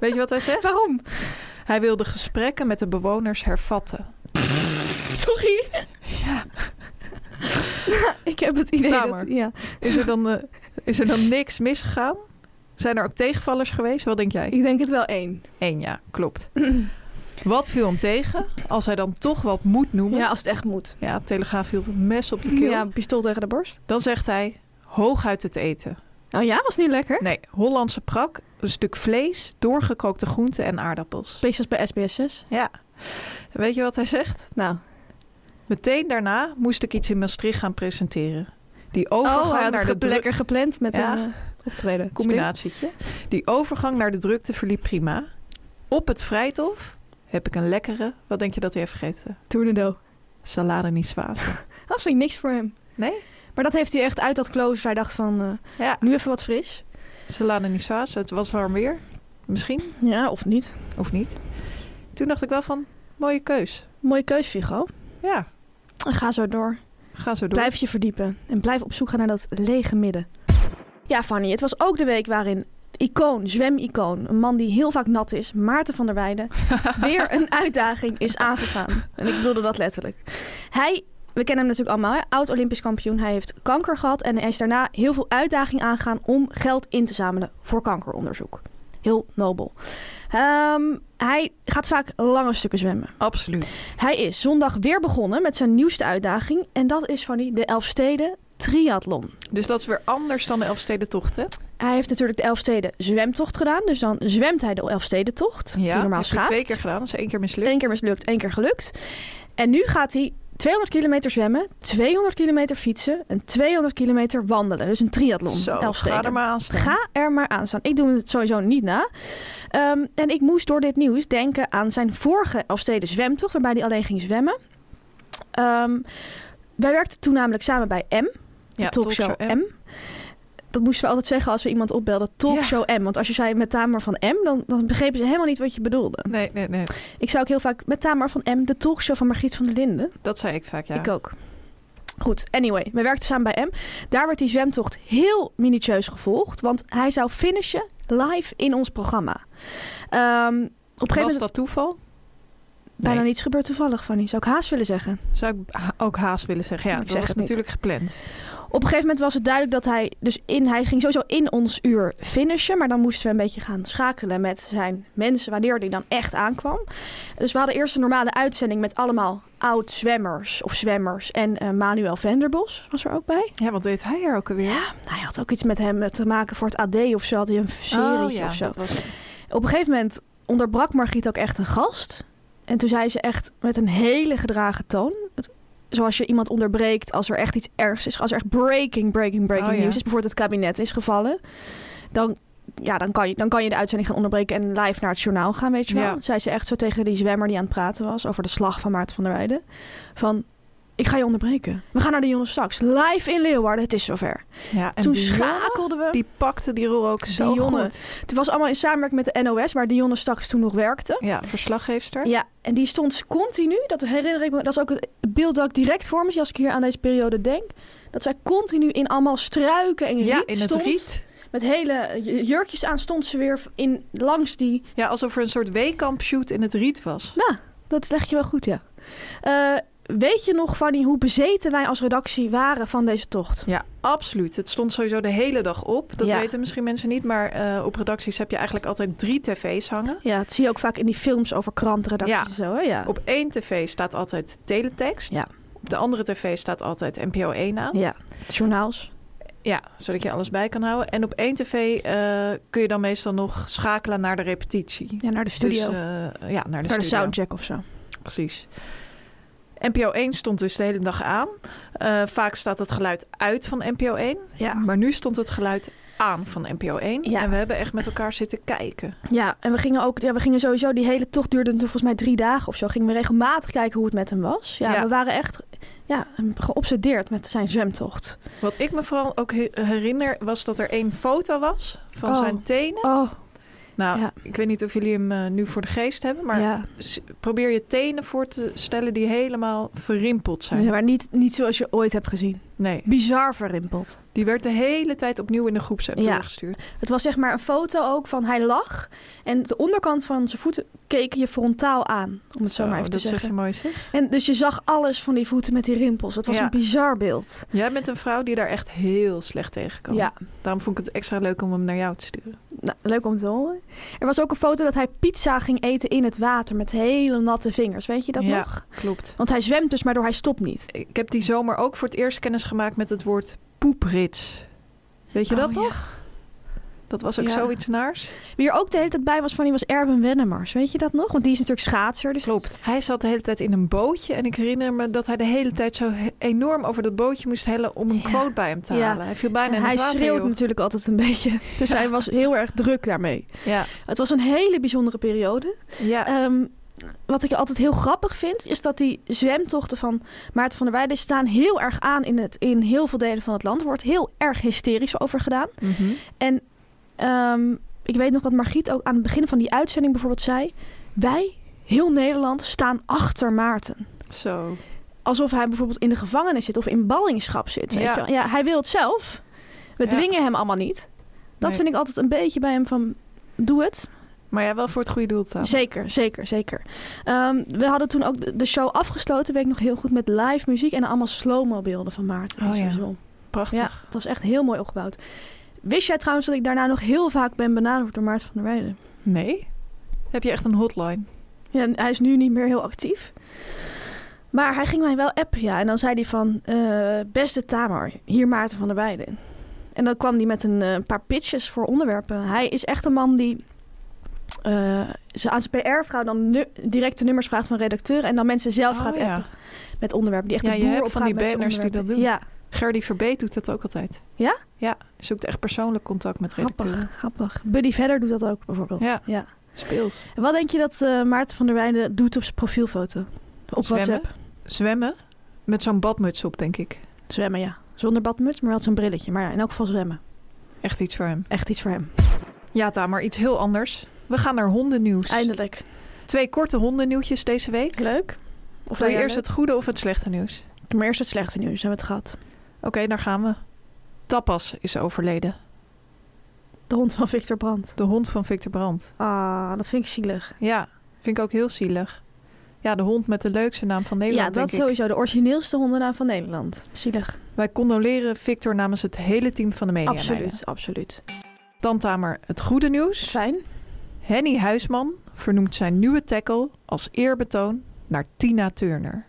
[SPEAKER 4] Weet je wat hij zegt?
[SPEAKER 5] Waarom?
[SPEAKER 4] Hij wil de gesprekken met de bewoners hervatten.
[SPEAKER 5] Sorry.
[SPEAKER 4] Ja.
[SPEAKER 5] ik heb het idee
[SPEAKER 4] Tamer.
[SPEAKER 5] dat... Ja.
[SPEAKER 4] Is er dan, eh, is er dan niks misgegaan? Zijn er ook tegenvallers geweest? Wat denk jij?
[SPEAKER 5] Ik denk het wel één.
[SPEAKER 4] Eén ja, klopt. Wat viel hem tegen? Als hij dan toch wat moet noemen.
[SPEAKER 5] Ja,
[SPEAKER 4] Ja,
[SPEAKER 5] als het echt moet.
[SPEAKER 4] Telegraaf hield een mes op de keel.
[SPEAKER 5] Ja, een pistool tegen de borst.
[SPEAKER 4] Dan zegt hij, hooguit het eten.
[SPEAKER 5] Oh ja, was niet lekker.
[SPEAKER 4] Nee, Hollandse prak, een stuk vlees, doorgekookte groenten en aardappels.
[SPEAKER 5] Specials bij SBS 6.
[SPEAKER 4] Ja. Weet je wat hij zegt?
[SPEAKER 5] Nou,
[SPEAKER 4] Meteen daarna moest ik iets in Maastricht gaan presenteren. Die overgang
[SPEAKER 5] oh, hij had
[SPEAKER 4] naar
[SPEAKER 5] het
[SPEAKER 4] de
[SPEAKER 5] ge-
[SPEAKER 4] druk-
[SPEAKER 5] lekker gepland met
[SPEAKER 4] Ja.
[SPEAKER 5] een eh, optreden.
[SPEAKER 4] combinatietje. Die overgang naar de drukte verliep prima. Op het Vrijthof heb ik een lekkere, wat denk je dat hij heeft gegeten?
[SPEAKER 5] Stik. Tornado.
[SPEAKER 4] Salade niçoise.
[SPEAKER 5] Dat vind ik niks voor hem.
[SPEAKER 4] Nee?
[SPEAKER 5] Maar dat heeft hij echt uit dat klooster. Hij dacht van, eh,
[SPEAKER 4] Ja,
[SPEAKER 5] nu even wat fris.
[SPEAKER 4] salade niçoise. Het was warm weer. Misschien,
[SPEAKER 5] Ja, of niet.
[SPEAKER 4] of niet. Toen dacht ik wel van, mooie keus.
[SPEAKER 5] Mooie keus, Vigo.
[SPEAKER 4] Ja,
[SPEAKER 5] En ga zo door.
[SPEAKER 4] ga zo door.
[SPEAKER 5] Blijf je verdiepen en blijf op zoek gaan naar dat lege midden. Ja, Fanny, het was ook de week waarin icoon, zwemicoon, een man die heel vaak nat is, Maarten van der Weijden, weer een uitdaging is aangegaan. En ik bedoelde dat letterlijk. Hij, we kennen hem natuurlijk allemaal, hè, oud-Olympisch kampioen. Hij heeft kanker gehad en hij is daarna heel veel uitdaging aangegaan om geld in te zamelen voor kankeronderzoek. Heel nobel. Ehm, hij gaat vaak lange stukken zwemmen.
[SPEAKER 4] Absoluut.
[SPEAKER 5] Hij is zondag weer begonnen met zijn nieuwste uitdaging. En dat is van die de Elfsteden Triathlon.
[SPEAKER 4] Dus dat is weer anders dan de Elfstedentocht, hè?
[SPEAKER 5] Hij heeft natuurlijk de Elfsteden zwemtocht gedaan. Dus dan zwemt hij de Elfstedentocht. die normaal
[SPEAKER 4] heb je
[SPEAKER 5] schaats.
[SPEAKER 4] twee keer gedaan. Dat is één keer mislukt.
[SPEAKER 5] Eén keer mislukt, één keer gelukt. En nu gaat hij 200 kilometer zwemmen, 200 kilometer fietsen en 200 kilometer wandelen. Dus een triathlon.
[SPEAKER 4] Zo,
[SPEAKER 5] Elfsteden.
[SPEAKER 4] ga er maar aan staan.
[SPEAKER 5] Ga er maar aan staan. Ik doe het sowieso niet na. Ehm, en ik moest door dit nieuws denken aan zijn vorige Elfsteden zwemtocht, waarbij hij alleen ging zwemmen. Ehm, wij werkten toen namelijk samen bij M, de
[SPEAKER 4] Ja,
[SPEAKER 5] talkshow,
[SPEAKER 4] talkshow
[SPEAKER 5] M. Dat moesten we altijd zeggen als we iemand opbelden, talkshow M. Want als je zei met Tamer van M, dan, dan begrepen ze helemaal niet wat je bedoelde.
[SPEAKER 4] Nee, nee, nee.
[SPEAKER 5] Ik zei ook heel vaak met Tamer van M, de talkshow van Margriet van der Linden.
[SPEAKER 4] Dat zei ik vaak, ja.
[SPEAKER 5] Ik ook. Goed, anyway, we werkten samen bij M. Daar werd die zwemtocht heel minutieus gevolgd, want hij zou finishen live in ons programma. Ehm, op een gegeven
[SPEAKER 4] Was
[SPEAKER 5] moment
[SPEAKER 4] dat toeval?
[SPEAKER 5] bijna
[SPEAKER 4] Nee.
[SPEAKER 5] niets gebeurd toevallig, Fanny. Zou ik haast willen zeggen.
[SPEAKER 4] Zou ik ha- ook haast willen zeggen. Ja,
[SPEAKER 5] Ik
[SPEAKER 4] dat
[SPEAKER 5] zeg
[SPEAKER 4] was
[SPEAKER 5] het niet.
[SPEAKER 4] natuurlijk gepland.
[SPEAKER 5] Op een gegeven moment was het duidelijk dat hij dus in, hij ging sowieso in ons uur finishen, maar dan moesten we een beetje gaan schakelen met zijn mensen wanneer die dan echt aankwam. Dus we hadden eerst een normale uitzending met allemaal oud zwemmers of zwemmers en eh, Manuel Venderbos was er ook bij.
[SPEAKER 4] Ja, wat deed hij er ook alweer?
[SPEAKER 5] Ja, Nou, hij had ook iets met hem eh, te maken voor het AD of zo. Had hij een serie
[SPEAKER 4] oh, ja,
[SPEAKER 5] of zo.
[SPEAKER 4] dat was het.
[SPEAKER 5] Op een gegeven moment onderbrak Margriet ook echt een gast. En toen zei ze echt met een hele gedragen toon. het- Zoals je iemand onderbreekt als er echt iets ergs is. Als er echt breaking, breaking, breaking
[SPEAKER 4] Oh, ja.
[SPEAKER 5] nieuws is. Bijvoorbeeld het kabinet is gevallen. Dan, ja, dan, kan je, dan kan je de uitzending gaan onderbreken en live naar het journaal gaan, weet je wel.
[SPEAKER 4] Ja.
[SPEAKER 5] Zei ze echt zo tegen die zwemmer die aan het praten was over de slag van Maarten van der Weijden. Van, ik ga je onderbreken. We gaan naar de Jonas Straks. Live in Leeuwarden. Het is zover.
[SPEAKER 4] Ja, en
[SPEAKER 5] toen
[SPEAKER 4] Dionne,
[SPEAKER 5] schakelden we.
[SPEAKER 4] Die pakte die rol ook zo
[SPEAKER 5] Dionne.
[SPEAKER 4] goed.
[SPEAKER 5] Het was allemaal in samenwerking met de NOS, waar Dionne straks toen nog werkte.
[SPEAKER 4] Ja, verslaggeefster.
[SPEAKER 5] Ja, en die stond continu, dat herinner ik me, dat is ook het beeld dat ik direct voor me zie als ik hier aan deze periode denk. Dat zij continu in allemaal struiken en riet
[SPEAKER 4] Ja, in het
[SPEAKER 5] stond.
[SPEAKER 4] riet.
[SPEAKER 5] Met hele j- jurkjes aan stond ze weer in, langs die.
[SPEAKER 4] Ja, alsof er een soort weekampshoot in het riet was.
[SPEAKER 5] Nou, dat leg je wel goed, ja. Eh, weet je nog, Fanny, hoe bezeten wij als redactie waren van deze tocht?
[SPEAKER 4] Ja, absoluut. Het stond sowieso de hele dag op. Dat
[SPEAKER 5] Ja.
[SPEAKER 4] weten misschien mensen niet, maar eh, op redacties heb je eigenlijk altijd drie tv's hangen.
[SPEAKER 5] Ja, dat zie je ook vaak in die films over krantredacties
[SPEAKER 4] Ja.
[SPEAKER 5] en zo, hè? Ja.
[SPEAKER 4] Op één tv staat altijd teletext.
[SPEAKER 5] Ja.
[SPEAKER 4] Op de andere tv staat altijd NPO 1 aan.
[SPEAKER 5] ja, journaals.
[SPEAKER 4] Ja, zodat je alles bij kan houden. En op één tv eh, kun je dan meestal nog schakelen naar de repetitie.
[SPEAKER 5] Ja, naar de studio.
[SPEAKER 4] Dus, eh, ja, naar de
[SPEAKER 5] naar de
[SPEAKER 4] studio.
[SPEAKER 5] soundcheck of zo.
[SPEAKER 4] Precies. NPO 1 stond dus de hele dag aan. Eh, vaak staat het geluid uit van NPO 1.
[SPEAKER 5] Ja.
[SPEAKER 4] Maar nu stond het geluid aan van NPO 1.
[SPEAKER 5] Ja.
[SPEAKER 4] En we hebben echt met elkaar zitten kijken.
[SPEAKER 5] Ja, en we gingen ook, ja, we gingen sowieso, die hele tocht duurde toen volgens mij drie dagen of zo. Gingen we regelmatig kijken hoe het met hem was. Ja,
[SPEAKER 4] Ja.
[SPEAKER 5] we waren echt ja, geobsedeerd met zijn zwemtocht.
[SPEAKER 4] Wat ik me vooral ook he- herinner was dat er één foto was van
[SPEAKER 5] Oh.
[SPEAKER 4] zijn tenen.
[SPEAKER 5] Oh,
[SPEAKER 4] Nou,
[SPEAKER 5] Ja.
[SPEAKER 4] ik weet niet of jullie hem eh, nu voor de geest hebben. Maar
[SPEAKER 5] ja.
[SPEAKER 4] s- probeer je tenen voor te stellen die helemaal verrimpeld zijn.
[SPEAKER 5] Ja, maar niet, niet zoals je ooit hebt gezien.
[SPEAKER 4] Nee,
[SPEAKER 5] Bizar verrimpeld.
[SPEAKER 4] die werd de hele tijd opnieuw in de groepsapp
[SPEAKER 5] Ja.
[SPEAKER 4] doorgestuurd.
[SPEAKER 5] Het was zeg maar een foto ook van hij lag en de onderkant van zijn voeten keken je frontaal aan. Om het zo, maar even te
[SPEAKER 4] dat
[SPEAKER 5] zeggen.
[SPEAKER 4] zeg je mooi zeg.
[SPEAKER 5] En dus je zag alles van die voeten met die rimpels. Het was
[SPEAKER 4] Ja.
[SPEAKER 5] een bizar beeld.
[SPEAKER 4] Jij bent een vrouw die daar echt heel slecht tegen kan.
[SPEAKER 5] Ja,
[SPEAKER 4] Daarom vond ik het extra leuk om hem naar jou te sturen.
[SPEAKER 5] Nou, leuk om te horen. Er was ook een foto dat hij pizza ging eten in het water met hele natte vingers. Weet je dat
[SPEAKER 4] Ja.
[SPEAKER 5] nog?
[SPEAKER 4] Klopt.
[SPEAKER 5] Want hij zwemt dus, maar door hij stopt niet.
[SPEAKER 4] Ik heb die zomer ook voor het eerst kennis gemaakt met het woord poeprits. Weet je
[SPEAKER 5] Oh,
[SPEAKER 4] dat
[SPEAKER 5] ja.
[SPEAKER 4] nog? Dat was ook
[SPEAKER 5] Ja.
[SPEAKER 4] zoiets naars.
[SPEAKER 5] Wie er ook de hele tijd bij was van die was Erwin Wennemars. Weet je dat nog? Want die is natuurlijk schaatser. Dus
[SPEAKER 4] Klopt. Hij zat de hele tijd in een bootje. En ik herinner me dat hij de hele tijd zo he- enorm over dat bootje moest hellen om een quote bij hem te
[SPEAKER 5] Ja.
[SPEAKER 4] halen. Hij viel bijna
[SPEAKER 5] En
[SPEAKER 4] in
[SPEAKER 5] hij
[SPEAKER 4] het water.
[SPEAKER 5] schreeuwt
[SPEAKER 4] joh.
[SPEAKER 5] natuurlijk altijd een beetje. Dus hij was heel erg druk daarmee.
[SPEAKER 4] Ja.
[SPEAKER 5] Het was een hele bijzondere periode.
[SPEAKER 4] Ja.
[SPEAKER 5] Ehm, wat ik altijd heel grappig vind, is dat die zwemtochten van Maarten van der Weijden staan heel erg aan in, het, in heel veel delen van het land. Er wordt heel erg hysterisch over gedaan.
[SPEAKER 4] Mhm.
[SPEAKER 5] En ehm, ik weet nog dat Margriet ook aan het begin van die uitzending bijvoorbeeld zei... wij, heel Nederland, staan achter Maarten.
[SPEAKER 4] Zo.
[SPEAKER 5] Alsof hij bijvoorbeeld in de gevangenis zit of in ballingschap zit. Weet
[SPEAKER 4] Ja.
[SPEAKER 5] Je? wel. ja hij wil het zelf. We
[SPEAKER 4] Ja.
[SPEAKER 5] dwingen hem allemaal niet. Dat
[SPEAKER 4] Nee.
[SPEAKER 5] vind ik altijd een beetje bij hem van... Doe het.
[SPEAKER 4] Maar ja, wel voor het goede doel te
[SPEAKER 5] Zeker, zeker, zeker. Ehm, we hadden toen ook de- de show afgesloten, weet ik nog heel goed, met live muziek en allemaal slow-mo beelden van Maarten. en
[SPEAKER 4] Oh ja.
[SPEAKER 5] Sazon.
[SPEAKER 4] Prachtig.
[SPEAKER 5] ja, het was echt heel mooi opgebouwd. Wist jij trouwens dat ik daarna nog heel vaak ben benaderd door Maarten van der Weijden?
[SPEAKER 4] Nee? Heb je echt een hotline?
[SPEAKER 5] Ja, en hij is nu niet meer heel actief. Maar hij ging mij wel appen, ja. En dan zei hij van, eh, beste Tamar, hier Maarten van der Weijden. En dan kwam hij met een eh, paar pitches voor onderwerpen. Hij is echt een man die eh, ze aan zijn PR-vrouw dan nu- direct de nummers vraagt van redacteuren... en dan mensen zelf gaat
[SPEAKER 4] Oh, ja.
[SPEAKER 5] appen met onderwerpen. Die echt
[SPEAKER 4] Ja,
[SPEAKER 5] de
[SPEAKER 4] je
[SPEAKER 5] boer
[SPEAKER 4] hebt van
[SPEAKER 5] opgaat
[SPEAKER 4] die
[SPEAKER 5] met zijn
[SPEAKER 4] banners die dat
[SPEAKER 5] onderwerpen. Ja,
[SPEAKER 4] Gerdy Verbeet doet dat ook altijd.
[SPEAKER 5] Ja?
[SPEAKER 4] Ja, zoekt echt persoonlijk contact met redacteuren.
[SPEAKER 5] grappig, grappig. Buddy Verder doet dat ook bijvoorbeeld.
[SPEAKER 4] Ja.
[SPEAKER 5] ja.
[SPEAKER 4] Speels.
[SPEAKER 5] En Wat denk je dat eh, Maarten van der Weijden doet op zijn profielfoto? Op WhatsApp?
[SPEAKER 4] Zwemmen. Met zo'n badmuts op, denk ik.
[SPEAKER 5] Zwemmen, ja. Zonder badmuts, maar wel zo'n brilletje. Maar ja, in elk geval zwemmen.
[SPEAKER 4] Echt iets voor hem.
[SPEAKER 5] Echt iets voor hem.
[SPEAKER 4] Ja, Tamar, iets heel anders. We gaan naar hondennieuws.
[SPEAKER 5] Eindelijk.
[SPEAKER 4] Twee korte hondennieuwtjes deze week.
[SPEAKER 5] Leuk.
[SPEAKER 4] Wil
[SPEAKER 5] Of
[SPEAKER 4] je
[SPEAKER 5] nou ja,
[SPEAKER 4] eerst het goede of het slechte nieuws?
[SPEAKER 5] leuk. Maar eerst het slechte nieuws. Hebben we het gehad.
[SPEAKER 4] Oké, daar gaan we. Tapas is overleden.
[SPEAKER 5] De hond van Victor Brandt.
[SPEAKER 4] De hond van Victor Brandt.
[SPEAKER 5] Ah, dat vind ik zielig.
[SPEAKER 4] Ja, vind ik ook heel zielig. Ja, de hond met de leukste naam van Nederland,
[SPEAKER 5] ja, dat is
[SPEAKER 4] denk ik.
[SPEAKER 5] sowieso de origineelste hondennaam van Nederland. Zielig.
[SPEAKER 4] Wij condoleren Victor namens het hele team van de media.
[SPEAKER 5] absoluut, absoluut.
[SPEAKER 4] Dan Tamer, het goede nieuws.
[SPEAKER 5] Fijn.
[SPEAKER 4] Henny Huisman vernoemt zijn nieuwe tackle als eerbetoon naar Tina Turner.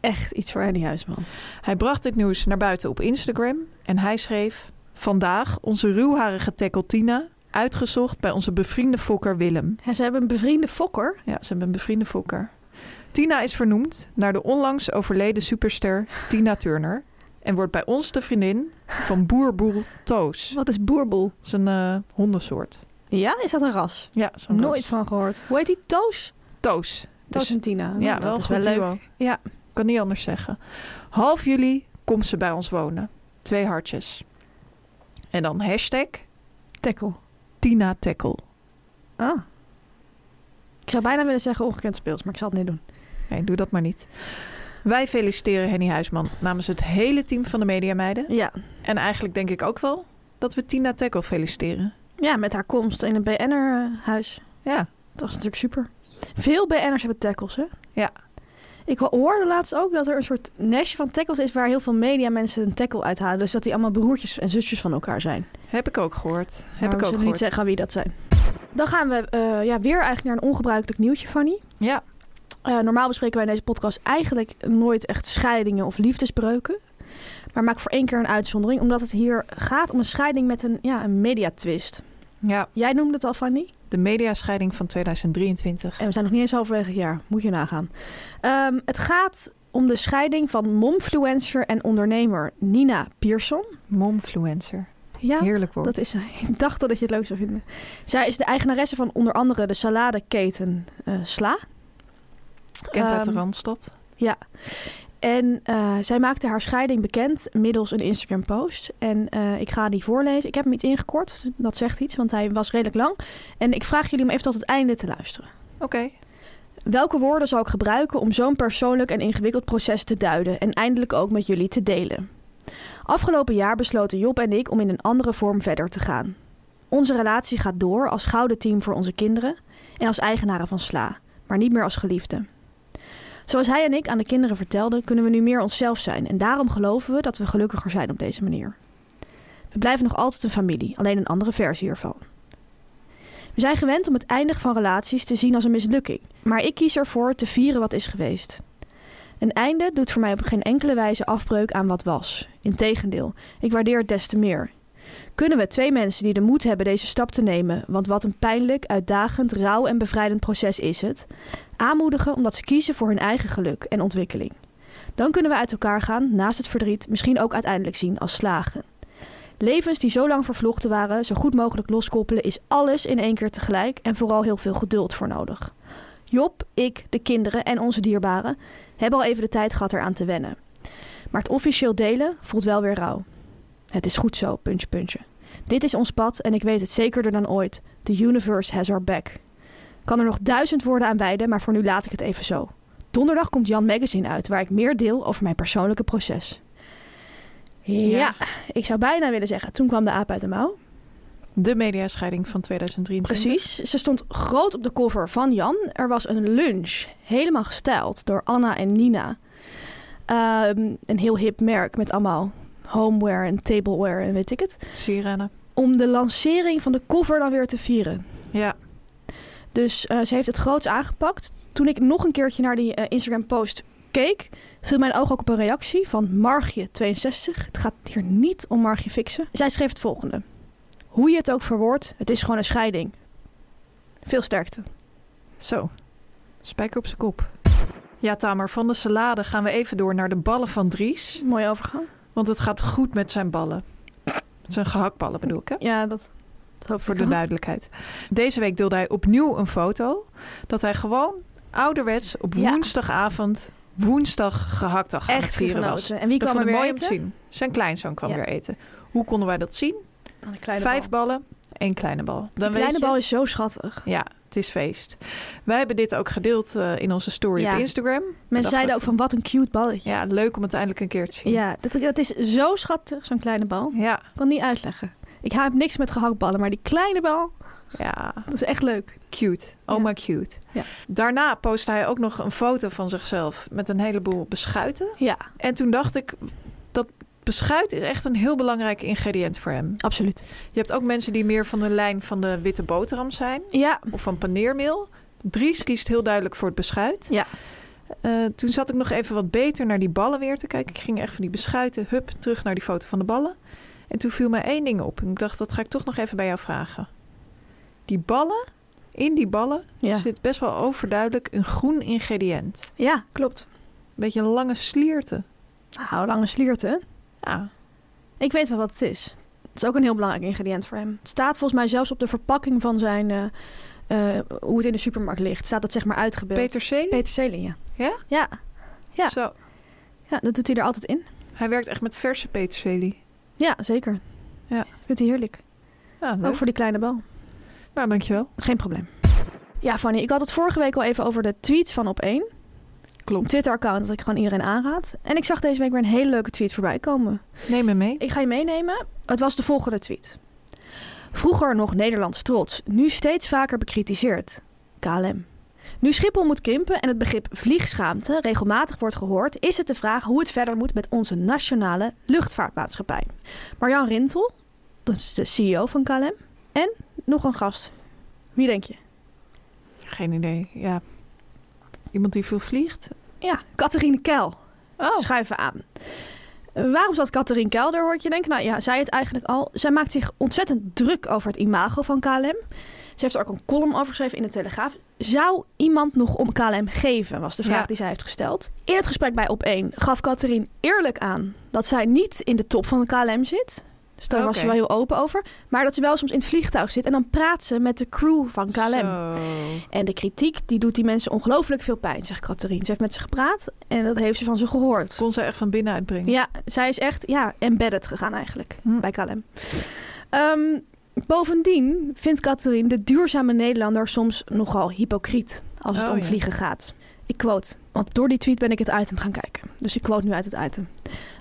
[SPEAKER 5] Echt iets voor Annie Huisman.
[SPEAKER 4] Hij bracht dit nieuws naar buiten op Instagram en hij schreef... Vandaag onze ruwharige tackle Tina, uitgezocht bij onze bevriende fokker Willem.
[SPEAKER 5] En ze hebben een bevriende fokker.
[SPEAKER 4] Ja, ze hebben een bevriende fokker. Tina is vernoemd naar de onlangs overleden superster Tina Turner... en wordt bij ons de vriendin van boerboel Toos.
[SPEAKER 5] Wat is boerboel?
[SPEAKER 4] Dat is een eh, hondensoort.
[SPEAKER 5] Ja, is dat een ras?
[SPEAKER 4] Ja, zo'n
[SPEAKER 5] Nooit
[SPEAKER 4] ras.
[SPEAKER 5] van gehoord. Hoe heet die? Toos?
[SPEAKER 4] Toos.
[SPEAKER 5] Toos
[SPEAKER 4] Dus-
[SPEAKER 5] en Tina.
[SPEAKER 4] ja,
[SPEAKER 5] Nou,
[SPEAKER 4] wel
[SPEAKER 5] dat is
[SPEAKER 4] goed
[SPEAKER 5] wel leuk.
[SPEAKER 4] duo.
[SPEAKER 5] Ja.
[SPEAKER 4] Kan niet anders zeggen. Half juli komt ze bij ons wonen. Twee hartjes. En dan hashtag
[SPEAKER 5] Tackle.
[SPEAKER 4] Tina Tackle.
[SPEAKER 5] Ah. Ik zou bijna willen zeggen ongekend speels, maar ik zal het niet doen.
[SPEAKER 4] Nee, doe dat maar niet. Wij feliciteren Henny Huisman namens het hele team van de Media Meiden.
[SPEAKER 5] Ja.
[SPEAKER 4] En eigenlijk denk ik ook wel dat we Tina Tackle feliciteren.
[SPEAKER 5] Ja, met haar komst in een BN'er-huis.
[SPEAKER 4] Ja,
[SPEAKER 5] Dat is natuurlijk super. Veel BN'ers hebben tackles, hè?
[SPEAKER 4] Ja.
[SPEAKER 5] Ik ho- hoorde laatst ook dat er een soort nestje van tackles is... waar heel veel media mensen een tackle uithalen. Dus dat die allemaal broertjes en zusjes van elkaar zijn.
[SPEAKER 4] heb ik ook gehoord. Heb
[SPEAKER 5] Maar
[SPEAKER 4] ik
[SPEAKER 5] we
[SPEAKER 4] ook
[SPEAKER 5] zullen
[SPEAKER 4] gehoord.
[SPEAKER 5] niet zeggen wie dat zijn. Dan gaan we eh, ja, weer eigenlijk naar een ongebruikelijk nieuwtje, Fanny.
[SPEAKER 4] Ja,
[SPEAKER 5] Eh, normaal bespreken wij in deze podcast eigenlijk nooit echt scheidingen of liefdesbreuken. Maar maak voor één keer een uitzondering, omdat het hier gaat om een scheiding met een, ja, een mediatwist.
[SPEAKER 4] ja,
[SPEAKER 5] Jij noemde het al, Fanny.
[SPEAKER 4] de mediascheiding van 2023.
[SPEAKER 5] En we zijn nog niet eens halverwege het jaar, moet je nagaan. Ehm, het gaat om de scheiding van momfluencer en ondernemer Nina Pierson.
[SPEAKER 4] Momfluencer.
[SPEAKER 5] Ja,
[SPEAKER 4] Heerlijk woord.
[SPEAKER 5] dat is zij. Ik dacht dat je het leuk zou vinden. Zij is de eigenaresse van onder andere de saladeketen eh, Sla.
[SPEAKER 4] Kent uit de
[SPEAKER 5] Ehm,
[SPEAKER 4] Randstad.
[SPEAKER 5] En eh, zij maakte haar scheiding bekend middels een Instagram-post. En eh, ik ga die voorlezen. Ik heb hem iets ingekort. Dat zegt iets, want hij was redelijk lang. En ik vraag jullie om even tot het einde te luisteren.
[SPEAKER 4] Oké.
[SPEAKER 5] Welke woorden zal ik gebruiken om zo'n persoonlijk en ingewikkeld proces te duiden en eindelijk ook met jullie te delen? Afgelopen jaar besloten Job en ik om in een andere vorm verder te gaan. Onze relatie gaat door als gouden team voor onze kinderen en als eigenaren van Sla, maar niet meer als geliefden. Zoals hij en ik aan de kinderen vertelden, kunnen we nu meer onszelf zijn en daarom geloven we dat we gelukkiger zijn op deze manier. We blijven nog altijd een familie, alleen een andere versie ervan. We zijn gewend om het eindigen van relaties te zien als een mislukking, maar ik kies ervoor te vieren wat is geweest. Een einde doet voor mij op geen enkele wijze afbreuk aan wat was. Integendeel, ik waardeer het des te meer. Kunnen we twee mensen die de moed hebben deze stap te nemen, want wat een pijnlijk, uitdagend, rauw en bevrijdend proces is het, aanmoedigen omdat ze kiezen voor hun eigen geluk en ontwikkeling. Dan kunnen we uit elkaar gaan, naast het verdriet, misschien ook uiteindelijk zien als slagen. Levens die zo lang vervlochten waren, zo goed mogelijk loskoppelen, is alles in één keer tegelijk en vooral heel veel geduld voor nodig. Job, ik, de kinderen en onze dierbaren hebben al even de tijd gehad eraan te wennen. Maar het officieel delen voelt wel weer rauw. Het is goed zo, puntje, puntje. Dit is ons pad en ik weet het zekerder dan ooit. The universe has our back. Kan er nog duizend woorden aan wijden, maar voor nu laat ik het even zo. Donderdag komt Jan Magazine uit, waar ik meer deel over mijn persoonlijke proces. ja. Ik zou bijna willen zeggen, toen kwam de aap uit de mouw.
[SPEAKER 4] De mediascheiding van 2023.
[SPEAKER 5] Precies. Ze stond groot op de cover van Jan. Er was een lunch, helemaal gestyled door Anna en Nina. Ehm, een heel hip merk met allemaal homeware en tableware en weet ik het.
[SPEAKER 4] Sirene.
[SPEAKER 5] Om de lancering van de cover dan weer te vieren.
[SPEAKER 4] Ja.
[SPEAKER 5] Dus eh, ze heeft het groots aangepakt. Toen ik nog een keertje naar die eh, Instagram-post keek, viel mijn oog ook op een reactie van Margje62. Het gaat hier niet om Margje Fixen. Zij schreef het volgende: Hoe je het ook verwoordt, het is gewoon een scheiding. Veel sterkte.
[SPEAKER 4] Zo. Spijker op zijn kop. Ja, Tamer, van de salade gaan we even door naar de ballen van Dries.
[SPEAKER 5] Mooi overgang.
[SPEAKER 4] Want het gaat goed met zijn ballen. Met zijn gehaktballen bedoel ik, hè?
[SPEAKER 5] Ja, dat, dat hoop ik
[SPEAKER 4] Voor de
[SPEAKER 5] wel.
[SPEAKER 4] duidelijkheid. Deze week deelde hij opnieuw een foto dat hij gewoon ouderwets op
[SPEAKER 5] Ja.
[SPEAKER 4] woensdagavond woensdag gehaktdag aan het
[SPEAKER 5] Echt
[SPEAKER 4] vieren was.
[SPEAKER 5] genoten. En wie
[SPEAKER 4] Dat
[SPEAKER 5] kwam er
[SPEAKER 4] vond ik mooi
[SPEAKER 5] weer
[SPEAKER 4] om te
[SPEAKER 5] eten?
[SPEAKER 4] zien. Zijn kleinzoon kwam
[SPEAKER 5] Ja.
[SPEAKER 4] weer eten. Hoe konden wij dat zien?
[SPEAKER 5] Aan een Nou, kleine
[SPEAKER 4] Vijf
[SPEAKER 5] bal.
[SPEAKER 4] ballen, één kleine bal. Dan
[SPEAKER 5] Die
[SPEAKER 4] weet
[SPEAKER 5] kleine
[SPEAKER 4] je-
[SPEAKER 5] bal is zo schattig.
[SPEAKER 4] Ja, het is feest. Wij hebben dit ook gedeeld eh, in onze story
[SPEAKER 5] Ja.
[SPEAKER 4] op Instagram.
[SPEAKER 5] Mensen zeiden ook van wat een cute balletje.
[SPEAKER 4] Ja, leuk om het eindelijk een keer te zien.
[SPEAKER 5] Ja, dat, dat is zo schattig, zo'n kleine bal.
[SPEAKER 4] Ja,
[SPEAKER 5] Ik kan niet uitleggen. Ik heb niks met gehaktballen, maar die kleine bal,
[SPEAKER 4] ja.
[SPEAKER 5] dat is echt leuk.
[SPEAKER 4] Cute. Oh
[SPEAKER 5] Ja.
[SPEAKER 4] maar cute.
[SPEAKER 5] Ja.
[SPEAKER 4] Daarna postte hij ook nog een foto van zichzelf met een heleboel beschuiten.
[SPEAKER 5] Ja,
[SPEAKER 4] En toen dacht ik, dat beschuit is echt een heel belangrijk ingrediënt voor hem.
[SPEAKER 5] absoluut.
[SPEAKER 4] Je hebt ook mensen die meer van de lijn van de witte boterham zijn.
[SPEAKER 5] Ja,
[SPEAKER 4] Of van paneermeel. Dries kiest heel duidelijk voor het beschuit.
[SPEAKER 5] Ja.
[SPEAKER 4] Eh, toen zat ik nog even wat beter naar die ballen weer te kijken. Ik ging echt van die beschuiten, hup, terug naar die foto van de ballen. En toen viel mij één ding op. En ik dacht, dat ga ik toch nog even bij jou vragen. Die ballen, in die ballen
[SPEAKER 5] ja.
[SPEAKER 4] zit best wel overduidelijk een groen ingrediënt.
[SPEAKER 5] ja klopt.
[SPEAKER 4] Een beetje een lange slierte.
[SPEAKER 5] Nou, lange slierten.
[SPEAKER 4] Ja,
[SPEAKER 5] Ik weet wel wat het is. Het is ook een heel belangrijk ingrediënt voor hem. Het staat volgens mij zelfs op de verpakking van zijn... eh, eh, hoe het in de supermarkt ligt. Staat dat zeg maar uitgebeeld.
[SPEAKER 4] peterselie.
[SPEAKER 5] Peterselie, ja.
[SPEAKER 4] Ja?
[SPEAKER 5] Ja. ja.
[SPEAKER 4] Zo,
[SPEAKER 5] Ja, dat doet hij er altijd in.
[SPEAKER 4] hij werkt echt met verse peterselie.
[SPEAKER 5] Ja, zeker.
[SPEAKER 4] Ja.
[SPEAKER 5] Ik vind het heerlijk.
[SPEAKER 4] Ja, leuk.
[SPEAKER 5] Ook voor die kleine bal.
[SPEAKER 4] Nou, dankjewel.
[SPEAKER 5] Geen probleem. Ja, Fanny, ik had het vorige week al even over de tweets van op één.
[SPEAKER 4] Klopt.
[SPEAKER 5] Twitter-account dat ik gewoon iedereen aanraad. En ik zag deze week weer een hele leuke tweet voorbij komen.
[SPEAKER 4] Neem me mee.
[SPEAKER 5] Ik ga je meenemen. Het was de volgende tweet. Vroeger nog Nederlands trots, nu steeds vaker bekritiseerd. KLM. Nu Schiphol moet krimpen en het begrip vliegschaamte regelmatig wordt gehoord, is het de vraag hoe het verder moet met onze nationale luchtvaartmaatschappij. Marjan Rintel, dat is de CEO van KLM, en nog een gast. Wie denk je?
[SPEAKER 4] Geen idee, ja. Iemand die veel vliegt?
[SPEAKER 5] Ja, Catharine Keil.
[SPEAKER 4] Oh,
[SPEAKER 5] schuiven aan. Uh, Waarom zat Catherine Kelder, hoor ik je denken? Nou ja, zij het eigenlijk al. Zij maakt zich ontzettend druk over het imago van KLM. Ze heeft er ook een column over geschreven in de Telegraaf. Zou iemand nog om KLM geven, was de vraag
[SPEAKER 4] Ja.
[SPEAKER 5] die zij heeft gesteld. In het gesprek bij Op1 gaf Catherine eerlijk aan dat zij niet in de top van de KLM zit. Dus daar was
[SPEAKER 4] Oké.
[SPEAKER 5] ze wel heel open over. Maar dat ze wel soms in het vliegtuig zit en dan praat ze met de crew van KLM.
[SPEAKER 4] Zo.
[SPEAKER 5] En de kritiek die doet die mensen ongelooflijk veel pijn, zegt Catherine. Ze heeft met ze gepraat en dat heeft ze van ze gehoord.
[SPEAKER 4] Kon ze echt van binnen uitbrengen?
[SPEAKER 5] Ja, zij is echt ja, embedded gegaan eigenlijk
[SPEAKER 4] Hm.
[SPEAKER 5] bij KLM. Ehm, bovendien vindt Catherine de duurzame Nederlander soms nogal hypocriet als het
[SPEAKER 4] Oh,
[SPEAKER 5] om
[SPEAKER 4] ja.
[SPEAKER 5] vliegen gaat. Ik quote, want door die tweet ben ik het item gaan kijken. Dus ik quote nu uit het item.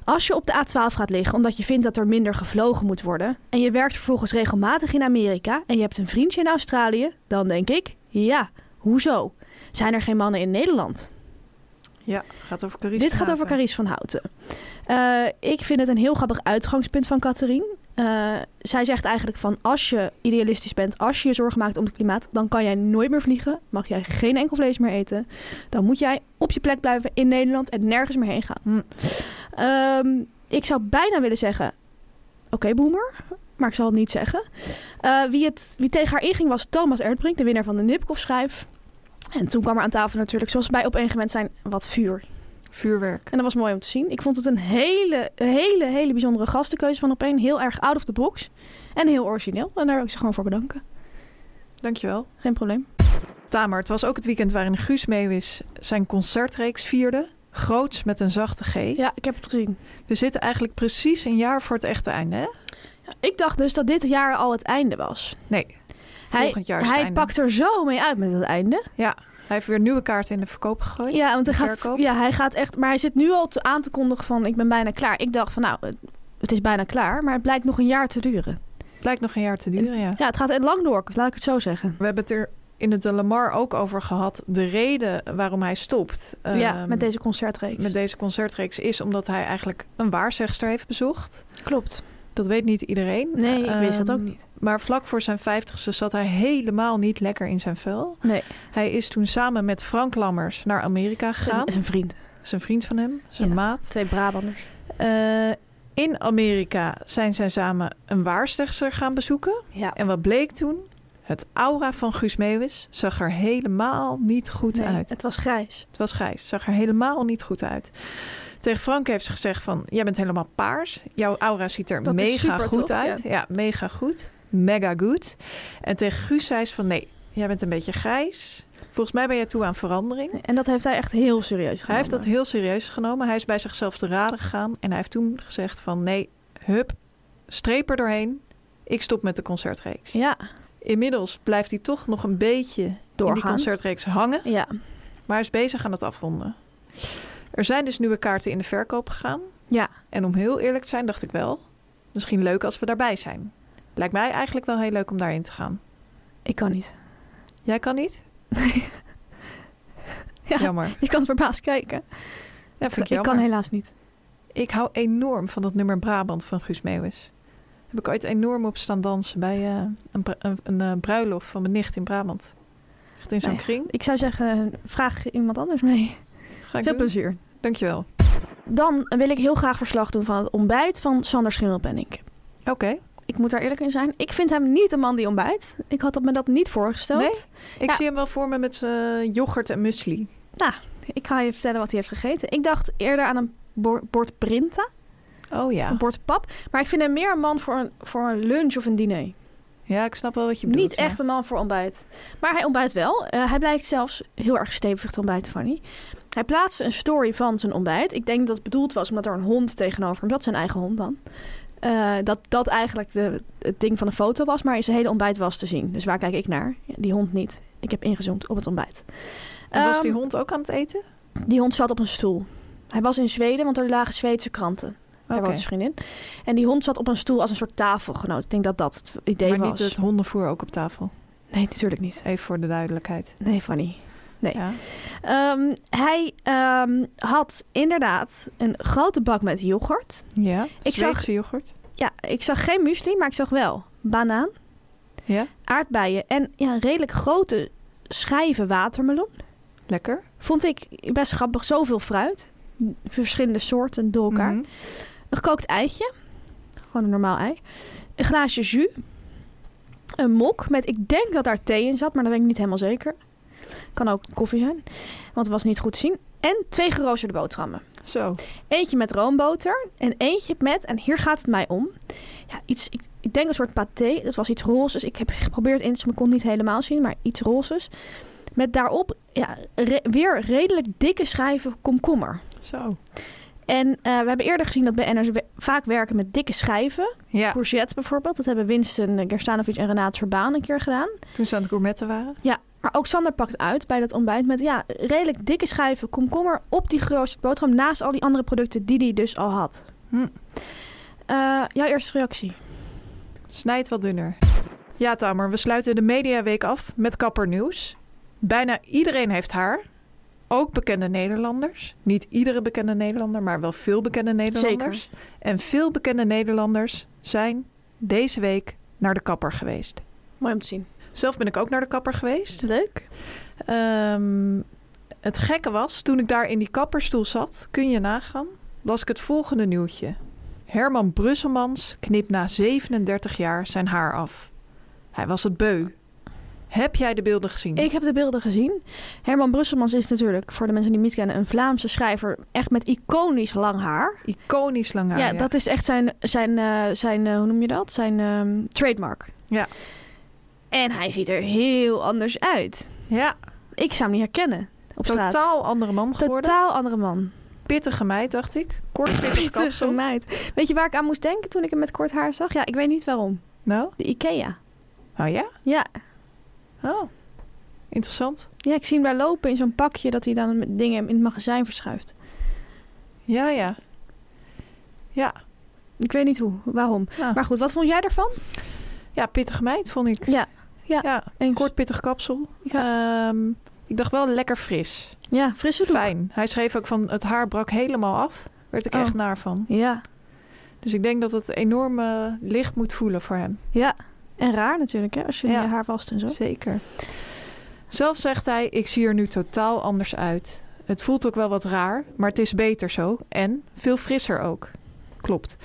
[SPEAKER 5] Als je op de A12 gaat liggen omdat je vindt dat er minder gevlogen moet worden... en je werkt vervolgens regelmatig in Amerika en je hebt een vriendje in Australië... dan denk ik, ja, hoezo? Zijn er geen mannen in Nederland?
[SPEAKER 4] Ja, gaat over Carice.
[SPEAKER 5] Dit gaat over Carice van Houten. Eh, ik vind het een heel grappig uitgangspunt van Catherine. Eh, zij zegt eigenlijk van als je idealistisch bent, als je je zorgen maakt om het klimaat, dan kan jij nooit meer vliegen. Mag jij geen enkel vlees meer eten. Dan moet jij op je plek blijven in Nederland en nergens meer heen gaan.
[SPEAKER 4] Hm.
[SPEAKER 5] Ehm, ik zou bijna willen zeggen, oké boomer, maar ik zal het niet zeggen. Eh, wie, het, wie tegen haar inging was Thomas Erdbrink, de winnaar van de Nipkoff-schijf. En toen kwam er aan tafel natuurlijk, zoals we bij op één gewend zijn, wat vuur.
[SPEAKER 4] Vuurwerk.
[SPEAKER 5] En dat was mooi om te zien. Ik vond het een hele, hele, hele bijzondere gastenkeuze van opeen. Heel erg out of the box. En heel origineel. En daar wil ik ze gewoon voor bedanken.
[SPEAKER 4] Dankjewel.
[SPEAKER 5] Geen probleem.
[SPEAKER 4] Tamer, het was ook het weekend waarin Guus Meeuwis zijn concertreeks vierde. Groots met een zachte G.
[SPEAKER 5] Ja, ik heb het gezien.
[SPEAKER 4] We zitten eigenlijk precies een jaar voor het echte einde, hè?
[SPEAKER 5] Ik dacht dus dat dit jaar al het einde was.
[SPEAKER 4] Nee, volgend jaar
[SPEAKER 5] hij
[SPEAKER 4] is het
[SPEAKER 5] hij
[SPEAKER 4] einde.
[SPEAKER 5] pakt er zo mee uit met het einde.
[SPEAKER 4] Hij heeft weer nieuwe kaarten in de verkoop gegooid.
[SPEAKER 5] Ja, want hij gaat,
[SPEAKER 4] verkoop.
[SPEAKER 5] ja, hij gaat echt. Maar hij zit nu al te- aan te kondigen van: ik ben bijna klaar. Ik dacht van: nou, het- het is bijna klaar. Maar het blijkt nog een jaar te duren.
[SPEAKER 4] Het lijkt nog een jaar te duren, ja.
[SPEAKER 5] Ja, het gaat lang door, laat ik het zo zeggen.
[SPEAKER 4] We hebben het er in het De Lamar ook over gehad. De reden waarom hij stopt
[SPEAKER 5] ja,
[SPEAKER 4] ehm,
[SPEAKER 5] met deze concertreeks.
[SPEAKER 4] met deze concertreeks is omdat hij eigenlijk een waarzegster heeft bezocht.
[SPEAKER 5] Klopt.
[SPEAKER 4] Dat weet niet iedereen.
[SPEAKER 5] Nee, ik wist dat ook
[SPEAKER 4] Ehm,
[SPEAKER 5] niet.
[SPEAKER 4] Maar vlak voor zijn vijftigste zat hij helemaal niet lekker in zijn vel.
[SPEAKER 5] Nee,
[SPEAKER 4] Hij is toen samen met Frank Lammers naar Amerika gegaan.
[SPEAKER 5] zijn, zijn vriend.
[SPEAKER 4] Zijn vriend van hem, zijn
[SPEAKER 5] Ja.
[SPEAKER 4] maat.
[SPEAKER 5] Twee Brabanders.
[SPEAKER 4] Eh, in Amerika zijn zij samen een waarstegster gaan bezoeken.
[SPEAKER 5] Ja.
[SPEAKER 4] En wat bleek toen? Het aura van Guus Meeuwis zag er helemaal niet goed
[SPEAKER 5] Nee,
[SPEAKER 4] uit.
[SPEAKER 5] Het was grijs.
[SPEAKER 4] Het was grijs, zag er helemaal niet goed uit. Tegen Frank heeft ze gezegd van, jij bent helemaal paars. Jouw aura ziet er
[SPEAKER 5] Dat is
[SPEAKER 4] mega
[SPEAKER 5] super,
[SPEAKER 4] goed
[SPEAKER 5] toch?
[SPEAKER 4] uit. Ja. mega goed. Mega goed. En tegen Guus zei ze van, nee, jij bent een beetje grijs. Volgens mij ben jij toe aan verandering.
[SPEAKER 5] En dat heeft hij echt heel serieus genomen.
[SPEAKER 4] Hij heeft dat heel serieus genomen. Hij is bij zichzelf te raden gegaan. En hij heeft toen gezegd van, nee, hup, streep er doorheen. Ik stop met de concertreeks.
[SPEAKER 5] Ja,
[SPEAKER 4] Inmiddels blijft hij toch nog een beetje in die
[SPEAKER 5] doorgaan.
[SPEAKER 4] concertreeks hangen.
[SPEAKER 5] Ja,
[SPEAKER 4] Maar hij is bezig aan het afronden. Er zijn dus nieuwe kaarten in de verkoop gegaan.
[SPEAKER 5] Ja.
[SPEAKER 4] En om heel eerlijk te zijn, dacht ik wel. Misschien leuk als we daarbij zijn. Lijkt mij eigenlijk wel heel leuk om daarin te gaan.
[SPEAKER 5] ik kan niet.
[SPEAKER 4] Jij kan niet?
[SPEAKER 5] Ja,
[SPEAKER 4] Jammer.
[SPEAKER 5] Je kan verbaasd kijken.
[SPEAKER 4] Ja, vind ik
[SPEAKER 5] ik
[SPEAKER 4] jammer.
[SPEAKER 5] kan helaas niet.
[SPEAKER 4] Ik hou enorm van dat nummer Brabant van Guus Meeuwis. Heb ik ooit enorm op staan dansen bij eh, een, bru- een, een, eh, bruiloft van mijn nicht in Brabant. Echt in zo'n
[SPEAKER 5] Nou ja,
[SPEAKER 4] kring.
[SPEAKER 5] Ik zou zeggen, vraag iemand anders mee.
[SPEAKER 4] Ga ik
[SPEAKER 5] Veel
[SPEAKER 4] doen.
[SPEAKER 5] plezier.
[SPEAKER 4] Dankjewel.
[SPEAKER 5] Dan wil ik heel graag verslag doen van het ontbijt van Sander Schimmelpenninck.
[SPEAKER 4] Oké.
[SPEAKER 5] Ik moet daar eerlijk in zijn. Ik vind hem niet een man die ontbijt. Ik had dat me dat niet voorgesteld.
[SPEAKER 4] Nee? Ik
[SPEAKER 5] Ja.
[SPEAKER 4] zie hem wel voor me met zijn yoghurt en muesli.
[SPEAKER 5] Ik ga je vertellen wat hij heeft gegeten. Ik dacht eerder aan een bo- bord printa,
[SPEAKER 4] Oh ja.
[SPEAKER 5] een bord pap. Maar ik vind hem meer een man voor een, voor een lunch of een diner.
[SPEAKER 4] Ja, ik snap wel wat je bedoelt.
[SPEAKER 5] Niet
[SPEAKER 4] maar-
[SPEAKER 5] echt een man voor ontbijt. Maar hij ontbijt wel. Eh, hij blijkt zelfs heel erg stevig te ontbijten, Fanny. Hij plaatste een story van zijn ontbijt. Ik denk dat het bedoeld was omdat er een hond tegenover hem zat. Zijn eigen hond dan. Eh, dat dat eigenlijk de, het ding van de foto was. Maar zijn hele ontbijt was te zien. Dus waar kijk ik naar? Ja, die hond niet. Ik heb ingezoomd op het ontbijt.
[SPEAKER 4] En was die
[SPEAKER 5] Ehm,
[SPEAKER 4] hond ook aan het eten?
[SPEAKER 5] die hond zat op een stoel. Hij was in Zweden, want er lagen Zweedse kranten. Daar
[SPEAKER 4] Oké.
[SPEAKER 5] woont zijn vriendin. En die hond zat op een stoel als een soort tafelgenoot. Ik denk dat dat het idee
[SPEAKER 4] Maar
[SPEAKER 5] was.
[SPEAKER 4] niet het hondenvoer ook op tafel.
[SPEAKER 5] Nee, natuurlijk niet.
[SPEAKER 4] Even voor de duidelijkheid.
[SPEAKER 5] Nee, Fanny. Nee.
[SPEAKER 4] Ja.
[SPEAKER 5] Ehm, hij ehm, had inderdaad een grote bak met yoghurt.
[SPEAKER 4] ja.
[SPEAKER 5] Ik zag-
[SPEAKER 4] Zweedse yoghurt.
[SPEAKER 5] Ja, ik zag geen muesli, maar ik zag wel banaan,
[SPEAKER 4] Ja.
[SPEAKER 5] aardbeien en ja, redelijk grote schijven watermeloen.
[SPEAKER 4] Lekker.
[SPEAKER 5] Vond ik best grappig, zoveel fruit. Verschillende soorten door elkaar.
[SPEAKER 4] Mhm.
[SPEAKER 5] Een gekookt eitje, gewoon een normaal ei. Een glaasje jus. Een mok met, ik denk dat daar thee in zat, maar dat ben ik niet helemaal zeker. Kan ook koffie zijn, want het was niet goed te zien. En twee geroosterde boterhammen.
[SPEAKER 4] Zo.
[SPEAKER 5] Eentje met roomboter en eentje met, en hier gaat het mij om. Ja, iets, ik, ik denk een soort paté. Dat was iets rozes. Ik heb geprobeerd in te zoomen, kon het niet helemaal zien, maar iets rozes. Met daarop ja, re- weer redelijk dikke schijven komkommer.
[SPEAKER 4] Zo.
[SPEAKER 5] En eh, we hebben eerder gezien dat BN'ers we- vaak werken met dikke schijven.
[SPEAKER 4] Ja.
[SPEAKER 5] Courgette bijvoorbeeld. Dat hebben Winston eh, Gerstanovic en Renate Verbaan een keer gedaan.
[SPEAKER 4] Toen ze aan het gourmetten waren.
[SPEAKER 5] Maar ook Sander pakt uit bij dat ontbijt met ja, redelijk dikke schijven komkommer op die geroosterde boterham naast al die andere producten die hij dus al had.
[SPEAKER 4] Hm.
[SPEAKER 5] Eh, jouw eerste reactie?
[SPEAKER 4] Snijd wat dunner. Ja, Tamer, we sluiten de Mediaweek af met kappernieuws. Bijna iedereen heeft haar. Ook bekende Nederlanders. Niet iedere bekende Nederlander, maar wel veel bekende Nederlanders. En veel bekende Nederlanders zijn deze week naar de kapper geweest.
[SPEAKER 5] Mooi om te zien.
[SPEAKER 4] Zelf ben ik ook naar de kapper geweest.
[SPEAKER 5] Leuk.
[SPEAKER 4] Ehm, het gekke was, toen ik daar in die kapperstoel zat, kun je nagaan, las ik het volgende nieuwtje. Herman Brusselmans knipt na 37 jaar zijn haar af. Hij was het beu. Heb jij de beelden gezien?
[SPEAKER 5] Ik heb de beelden gezien. Herman Brusselmans is natuurlijk, voor de mensen die hem niet kennen, een Vlaamse schrijver. Echt met iconisch lang haar.
[SPEAKER 4] Iconisch lang haar.
[SPEAKER 5] ja, dat is echt zijn, zijn, eh, zijn eh, hoe noem je dat? Zijn ehm, trademark.
[SPEAKER 4] Ja.
[SPEAKER 5] En hij ziet er heel anders uit.
[SPEAKER 4] Ja,
[SPEAKER 5] Ik zou hem niet herkennen op straat.
[SPEAKER 4] totaal andere man geworden.
[SPEAKER 5] Totaal andere man.
[SPEAKER 4] Pittige meid, dacht ik. Kort pittig
[SPEAKER 5] Pittige
[SPEAKER 4] kapsel.
[SPEAKER 5] meid. Weet je waar ik aan moest denken toen ik hem met kort haar zag? Ja, ik weet niet waarom.
[SPEAKER 4] Nou,
[SPEAKER 5] De Ikea.
[SPEAKER 4] oh ja?
[SPEAKER 5] Ja,
[SPEAKER 4] Oh, interessant.
[SPEAKER 5] ja ik zie hem daar lopen in zo'n pakje dat hij dan met dingen in het magazijn verschuift.
[SPEAKER 4] Ja, ja. Ja,
[SPEAKER 5] Ik weet niet hoe, waarom.
[SPEAKER 4] nou.
[SPEAKER 5] Maar goed, wat vond jij daarvan?
[SPEAKER 4] Ja, pittige meid vond ik.
[SPEAKER 5] Ja,
[SPEAKER 4] Ja, een
[SPEAKER 5] eens.
[SPEAKER 4] kort pittig kapsel. Ehm, ik dacht wel lekker fris.
[SPEAKER 5] ja frisse doek.
[SPEAKER 4] Fijn. Hij schreef ook van het haar brak helemaal af. Werd ik
[SPEAKER 5] Oh.
[SPEAKER 4] echt naar van.
[SPEAKER 5] Ja,
[SPEAKER 4] Dus ik denk dat het enorm eh, licht moet voelen voor hem.
[SPEAKER 5] ja. En raar natuurlijk, hè, als je
[SPEAKER 4] Ja.
[SPEAKER 5] je haar wast en zo.
[SPEAKER 4] Zeker. Zelf zegt hij, ik zie er nu totaal anders uit. Het voelt ook wel wat raar, maar het is beter zo. En veel frisser ook. Klopt.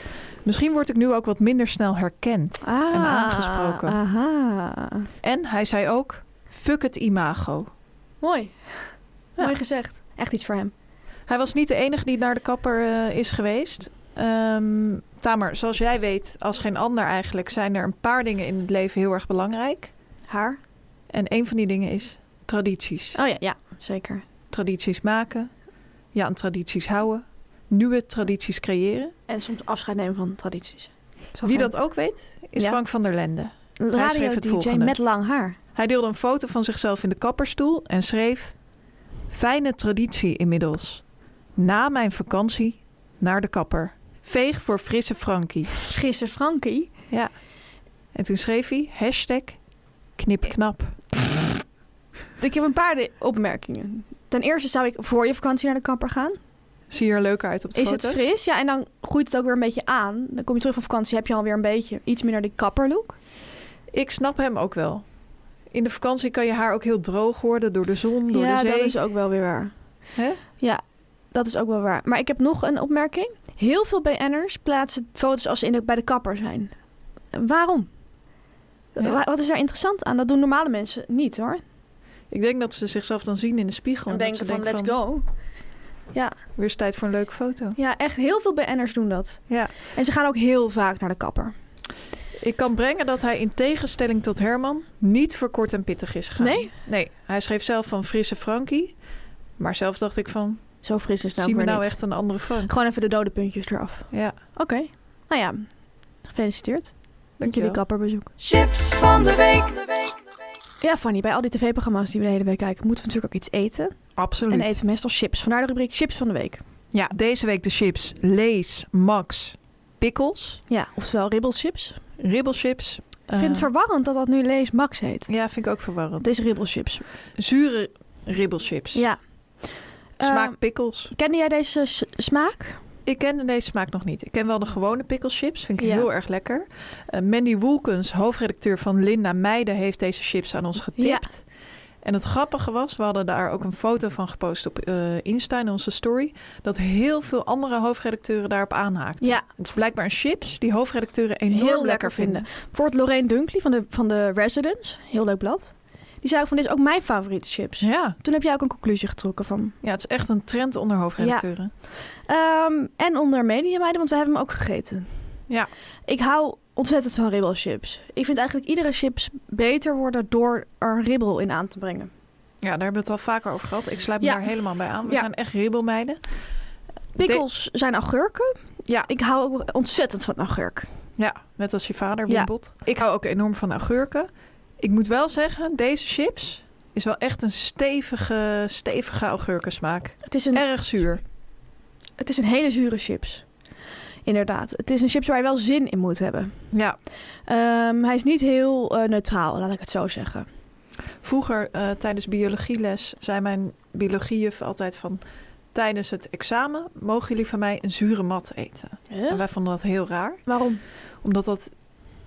[SPEAKER 4] Misschien word ik nu ook wat minder snel herkend.
[SPEAKER 5] Ah,
[SPEAKER 4] En aangesproken.
[SPEAKER 5] Aha.
[SPEAKER 4] En hij zei ook, fuck het imago.
[SPEAKER 5] Mooi.
[SPEAKER 4] Ja.
[SPEAKER 5] Mooi gezegd. Echt iets voor hem.
[SPEAKER 4] Hij was niet de enige die naar de kapper eh, is geweest. Ehm, Tamer, zoals jij weet, als geen ander eigenlijk, zijn er een paar dingen in het leven heel erg belangrijk.
[SPEAKER 5] Haar?
[SPEAKER 4] En een van die dingen is tradities.
[SPEAKER 5] Oh ja, ja, zeker.
[SPEAKER 4] Tradities maken, ja, aan tradities houden, nieuwe tradities creëren.
[SPEAKER 5] En soms afscheid nemen van tradities. Zag
[SPEAKER 4] Wie
[SPEAKER 5] hem.
[SPEAKER 4] dat ook weet, is
[SPEAKER 5] Ja.
[SPEAKER 4] Frank van der Lende. Hij schreef het
[SPEAKER 5] Radio-dj
[SPEAKER 4] volgende.
[SPEAKER 5] met lang haar.
[SPEAKER 4] Hij deelde een foto van zichzelf in de kapperstoel en schreef: Fijne traditie inmiddels. Na mijn vakantie naar de kapper. Veeg voor frisse Frankie.
[SPEAKER 5] Frisse Frankie.
[SPEAKER 4] Ja. En toen schreef hij hashtag knipknap.
[SPEAKER 5] Ik heb een paar de- opmerkingen. Ten eerste zou ik voor je vakantie naar de kapper gaan.
[SPEAKER 4] Zie je er leuk uit op de
[SPEAKER 5] Is het
[SPEAKER 4] foto's?
[SPEAKER 5] fris? Ja, en dan groeit het ook weer een beetje aan. Dan kom je terug van vakantie, heb je alweer een beetje iets minder die kapperlook.
[SPEAKER 4] Ik snap hem ook wel. In de vakantie kan je haar ook heel droog worden door de zon, door
[SPEAKER 5] ja,
[SPEAKER 4] de
[SPEAKER 5] dat
[SPEAKER 4] zee.
[SPEAKER 5] is ook wel weer waar.
[SPEAKER 4] Hè?
[SPEAKER 5] Ja, dat is ook wel waar. Maar ik heb nog een opmerking. Heel veel BN'ers plaatsen foto's als ze in de- bij de kapper zijn. Waarom?
[SPEAKER 4] Ja.
[SPEAKER 5] Wa- Wat is daar interessant aan? Dat doen normale mensen niet hoor.
[SPEAKER 4] Ik denk dat ze zichzelf dan zien in de spiegel.
[SPEAKER 5] Dan
[SPEAKER 4] en dat ze
[SPEAKER 5] denken van let's
[SPEAKER 4] denken
[SPEAKER 5] go.
[SPEAKER 4] Weer is tijd voor een leuke foto.
[SPEAKER 5] Ja, echt heel veel BN'ers doen dat.
[SPEAKER 4] Ja.
[SPEAKER 5] En ze gaan ook heel vaak naar de kapper.
[SPEAKER 4] Ik kan brengen dat hij in tegenstelling tot Herman niet voor kort en pittig is gegaan.
[SPEAKER 5] Nee?
[SPEAKER 4] Nee, hij schreef zelf van frisse Frankie. Maar zelf dacht ik van,
[SPEAKER 5] Zo fris is het nou
[SPEAKER 4] zie
[SPEAKER 5] ook
[SPEAKER 4] me
[SPEAKER 5] weer
[SPEAKER 4] nou
[SPEAKER 5] niet.
[SPEAKER 4] echt een andere Frank.
[SPEAKER 5] Gewoon even de dode puntjes eraf.
[SPEAKER 4] Ja,
[SPEAKER 5] Oké. Nou ja, gefeliciteerd met jullie
[SPEAKER 4] dankjewel.
[SPEAKER 5] kapperbezoek.
[SPEAKER 7] Chips van de week.
[SPEAKER 5] Ja, Fanny, bij al die tv-programma's die we de hele week kijken, moeten we natuurlijk ook iets eten.
[SPEAKER 4] Absoluut.
[SPEAKER 5] En eten we meestal chips. Vandaar de rubriek chips van de week.
[SPEAKER 4] Ja, deze week de chips Lees, Max, Pickles,
[SPEAKER 5] Ja, oftewel ribbelchips.
[SPEAKER 4] Ribbelchips.
[SPEAKER 5] Ik vind het
[SPEAKER 4] Eh,
[SPEAKER 5] verwarrend dat dat nu Lees Max heet.
[SPEAKER 4] Ja, vind ik ook verwarrend.
[SPEAKER 5] Het is ribbelchips.
[SPEAKER 4] Zure ribbelchips.
[SPEAKER 5] Ja.
[SPEAKER 4] Smaak
[SPEAKER 5] Eh,
[SPEAKER 4] pickles.
[SPEAKER 5] kende jij deze s- smaak?
[SPEAKER 4] ehm, Ik ken deze smaak nog niet. Ik ken wel de gewone pickelschips. Vind ik
[SPEAKER 5] Ja.
[SPEAKER 4] heel erg lekker. Eh, Mandy Woelkens, hoofdredacteur van Linda Meijden, heeft deze chips aan ons getipt. En het grappige was, we hadden daar ook een foto van gepost op eh Insta in onze story, dat heel veel andere hoofdredacteuren daarop aanhaakten.
[SPEAKER 5] Ja,
[SPEAKER 4] Het is blijkbaar een chips die hoofdredacteuren enorm
[SPEAKER 5] heel lekker,
[SPEAKER 4] lekker,
[SPEAKER 5] vinden. Bijvoorbeeld Lorraine Dunkley van de, van de Residence. Heel leuk blad. Die zei ook van, dit is ook mijn favoriete chips.
[SPEAKER 4] Ja.
[SPEAKER 5] Toen heb jij ook een conclusie getrokken van.
[SPEAKER 4] ja, het is echt een trend onder hoofdredacteuren.
[SPEAKER 5] Ehm, en onder mediameiden, want we hebben hem ook gegeten.
[SPEAKER 4] Ja.
[SPEAKER 5] Ik hou ontzettend van ribbelchips. Ik vind eigenlijk iedere chips beter worden door er ribbel in aan te brengen.
[SPEAKER 4] Ja, daar hebben we het al vaker over gehad. Ik sluit me
[SPEAKER 5] Ja.
[SPEAKER 4] daar helemaal bij aan. We
[SPEAKER 5] Ja.
[SPEAKER 4] zijn echt ribbelmeiden.
[SPEAKER 5] Pickles zijn augurken.
[SPEAKER 4] Ja.
[SPEAKER 5] Ik hou ook ontzettend van augurk.
[SPEAKER 4] Ja, net als je vader,
[SPEAKER 5] Ja.
[SPEAKER 4] Wimbot. Ik hou ook enorm van augurken. Ik moet wel zeggen, deze chips is wel echt een stevige, stevige augurkensmaak.
[SPEAKER 5] Het is, een,
[SPEAKER 4] Erg zuur.
[SPEAKER 5] het is een hele zure chips. Inderdaad. Het is een chips waar je wel zin in moet hebben.
[SPEAKER 4] Ja.
[SPEAKER 5] Ehm, hij is niet heel eh, neutraal, laat ik het zo zeggen.
[SPEAKER 4] Vroeger eh, tijdens biologieles zei mijn biologiejuf altijd van... Tijdens het examen mogen jullie van mij een zure mat eten. En wij vonden dat heel raar.
[SPEAKER 5] Waarom?
[SPEAKER 4] Omdat dat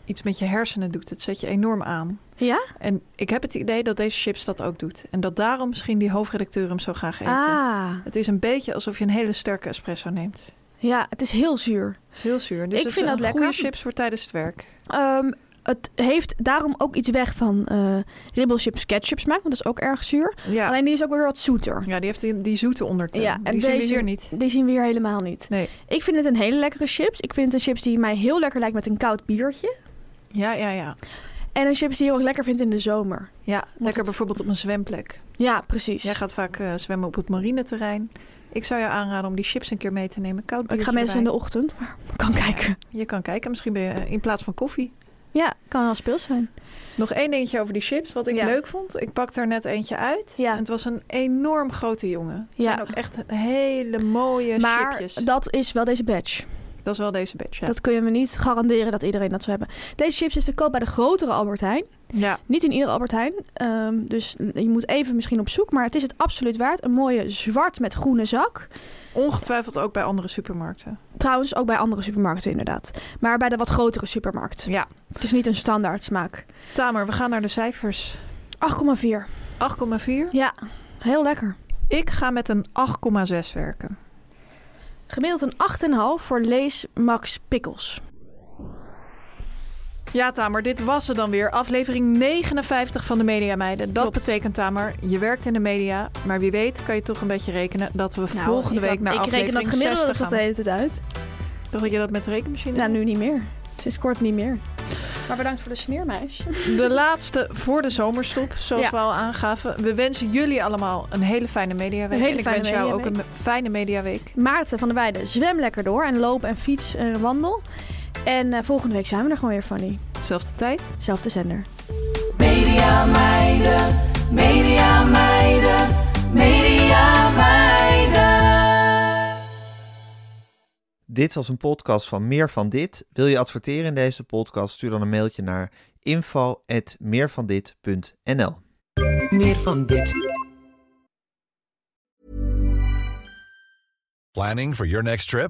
[SPEAKER 4] iets met je hersenen doet. Het zet je enorm aan.
[SPEAKER 5] Ja?
[SPEAKER 4] En ik heb het idee dat deze chips dat ook doet. En dat daarom misschien die hoofdredacteur hem zo graag eet.
[SPEAKER 5] Ah,
[SPEAKER 4] Het eh? is een beetje alsof je een hele sterke espresso neemt.
[SPEAKER 5] ja, het is heel zuur.
[SPEAKER 4] Het is heel zuur. Dus
[SPEAKER 5] Ik
[SPEAKER 4] het
[SPEAKER 5] vind
[SPEAKER 4] zijn
[SPEAKER 5] dat
[SPEAKER 4] goede
[SPEAKER 5] lekker.
[SPEAKER 4] chips voor tijdens het werk.
[SPEAKER 5] Ehm, het heeft daarom ook iets weg van eh ribbelchips ketchup smaak, want dat is ook erg zuur.
[SPEAKER 4] Ja,
[SPEAKER 5] Alleen die is ook weer wat zoeter.
[SPEAKER 4] ja die heeft die, die zoete ondertoon.
[SPEAKER 5] Ja, en
[SPEAKER 4] die zien we
[SPEAKER 5] deze-
[SPEAKER 4] hier niet.
[SPEAKER 5] Die zien we hier helemaal niet.
[SPEAKER 4] Nee.
[SPEAKER 5] Ik vind het een hele lekkere chips. Ik vind het een chips die mij heel lekker lijkt met een koud biertje.
[SPEAKER 4] Ja, ja, ja.
[SPEAKER 5] En een chips die je ook lekker vindt in de zomer.
[SPEAKER 4] ja lekker
[SPEAKER 5] het-
[SPEAKER 4] bijvoorbeeld op een zwemplek.
[SPEAKER 5] Ja, precies.
[SPEAKER 4] Jij gaat vaak eh, zwemmen op het marineterrein. Ik zou jou aanraden om die chips een keer mee te nemen. Koud
[SPEAKER 5] ik ga
[SPEAKER 4] biertje
[SPEAKER 5] meestal in de
[SPEAKER 4] erbij.
[SPEAKER 5] ochtend, maar ik kan kijken.
[SPEAKER 4] Je kan kijken, misschien ben je eh, in plaats van koffie.
[SPEAKER 5] Ja, kan wel speels zijn.
[SPEAKER 4] Nog één dingetje over die chips, wat ik
[SPEAKER 5] Ja.
[SPEAKER 4] leuk vond. Ik pakte er net eentje uit.
[SPEAKER 5] Ja.
[SPEAKER 4] En het was een enorm grote jongen. Het
[SPEAKER 5] Ja.
[SPEAKER 4] zijn ook echt hele mooie
[SPEAKER 5] maar
[SPEAKER 4] chipjes.
[SPEAKER 5] dat is wel deze badge.
[SPEAKER 4] Dat is wel deze batch, ja.
[SPEAKER 5] Dat kun je me niet garanderen dat iedereen dat zou hebben. Deze chips is te koop bij de grotere Albert Heijn.
[SPEAKER 4] ja.
[SPEAKER 5] Niet in iedere Albert Heijn. ehm, dus je moet even misschien op zoek. Maar het is het absoluut waard. Een mooie zwart met groene zak.
[SPEAKER 4] Ongetwijfeld ook bij andere supermarkten.
[SPEAKER 5] Trouwens, ook bij andere supermarkten inderdaad. Maar bij de wat grotere supermarkt.
[SPEAKER 4] Ja.
[SPEAKER 5] Het is niet een standaard smaak.
[SPEAKER 4] Tamer, we gaan naar de cijfers.
[SPEAKER 5] 8,4.
[SPEAKER 4] 8,4.
[SPEAKER 5] Ja, heel lekker.
[SPEAKER 4] Ik ga met een 8,6 werken.
[SPEAKER 5] Gemiddeld een 8,5 voor Lees Max Pickles.
[SPEAKER 4] Ja, Tamer, dit was er dan weer. Aflevering 59 van de Media Meiden. Dat betekent, Tamer, je werkt in de media. Maar wie weet kan je toch een beetje rekenen dat we
[SPEAKER 5] Nou,
[SPEAKER 4] volgende
[SPEAKER 5] ik
[SPEAKER 4] week
[SPEAKER 5] had-
[SPEAKER 4] naar
[SPEAKER 5] Ik
[SPEAKER 4] aflevering
[SPEAKER 5] reken dat gemiddelde
[SPEAKER 4] 60
[SPEAKER 5] toch de
[SPEAKER 4] gaan.
[SPEAKER 5] hele tijd uit.
[SPEAKER 4] Dacht ik je dat met de rekenmachine?
[SPEAKER 5] Nou,
[SPEAKER 4] deed?
[SPEAKER 5] nu niet meer. Sinds kort niet meer. Maar bedankt voor de sneermeisje.
[SPEAKER 4] De laatste voor de zomerstop, zoals
[SPEAKER 5] Ja.
[SPEAKER 4] we al aangaven. We wensen jullie allemaal een hele fijne mediaweek.
[SPEAKER 5] Een hele
[SPEAKER 4] en ik
[SPEAKER 5] fijne
[SPEAKER 4] wens jou ook een
[SPEAKER 5] mediaweek.
[SPEAKER 4] fijne mediaweek.
[SPEAKER 5] Maarten van der Weijden, zwem lekker door en loop en fiets en wandel. En eh, volgende week zijn we er gewoon weer, Fanny.
[SPEAKER 4] Zelfde tijd.
[SPEAKER 5] Zelfde zender.
[SPEAKER 7] Media meiden, media meiden, media meiden.
[SPEAKER 8] Dit was een podcast van Meer van Dit. Wil je adverteren in deze podcast? Stuur dan een mailtje naar info.meervandit.nl
[SPEAKER 9] Meer van dit.
[SPEAKER 10] Planning for your next trip?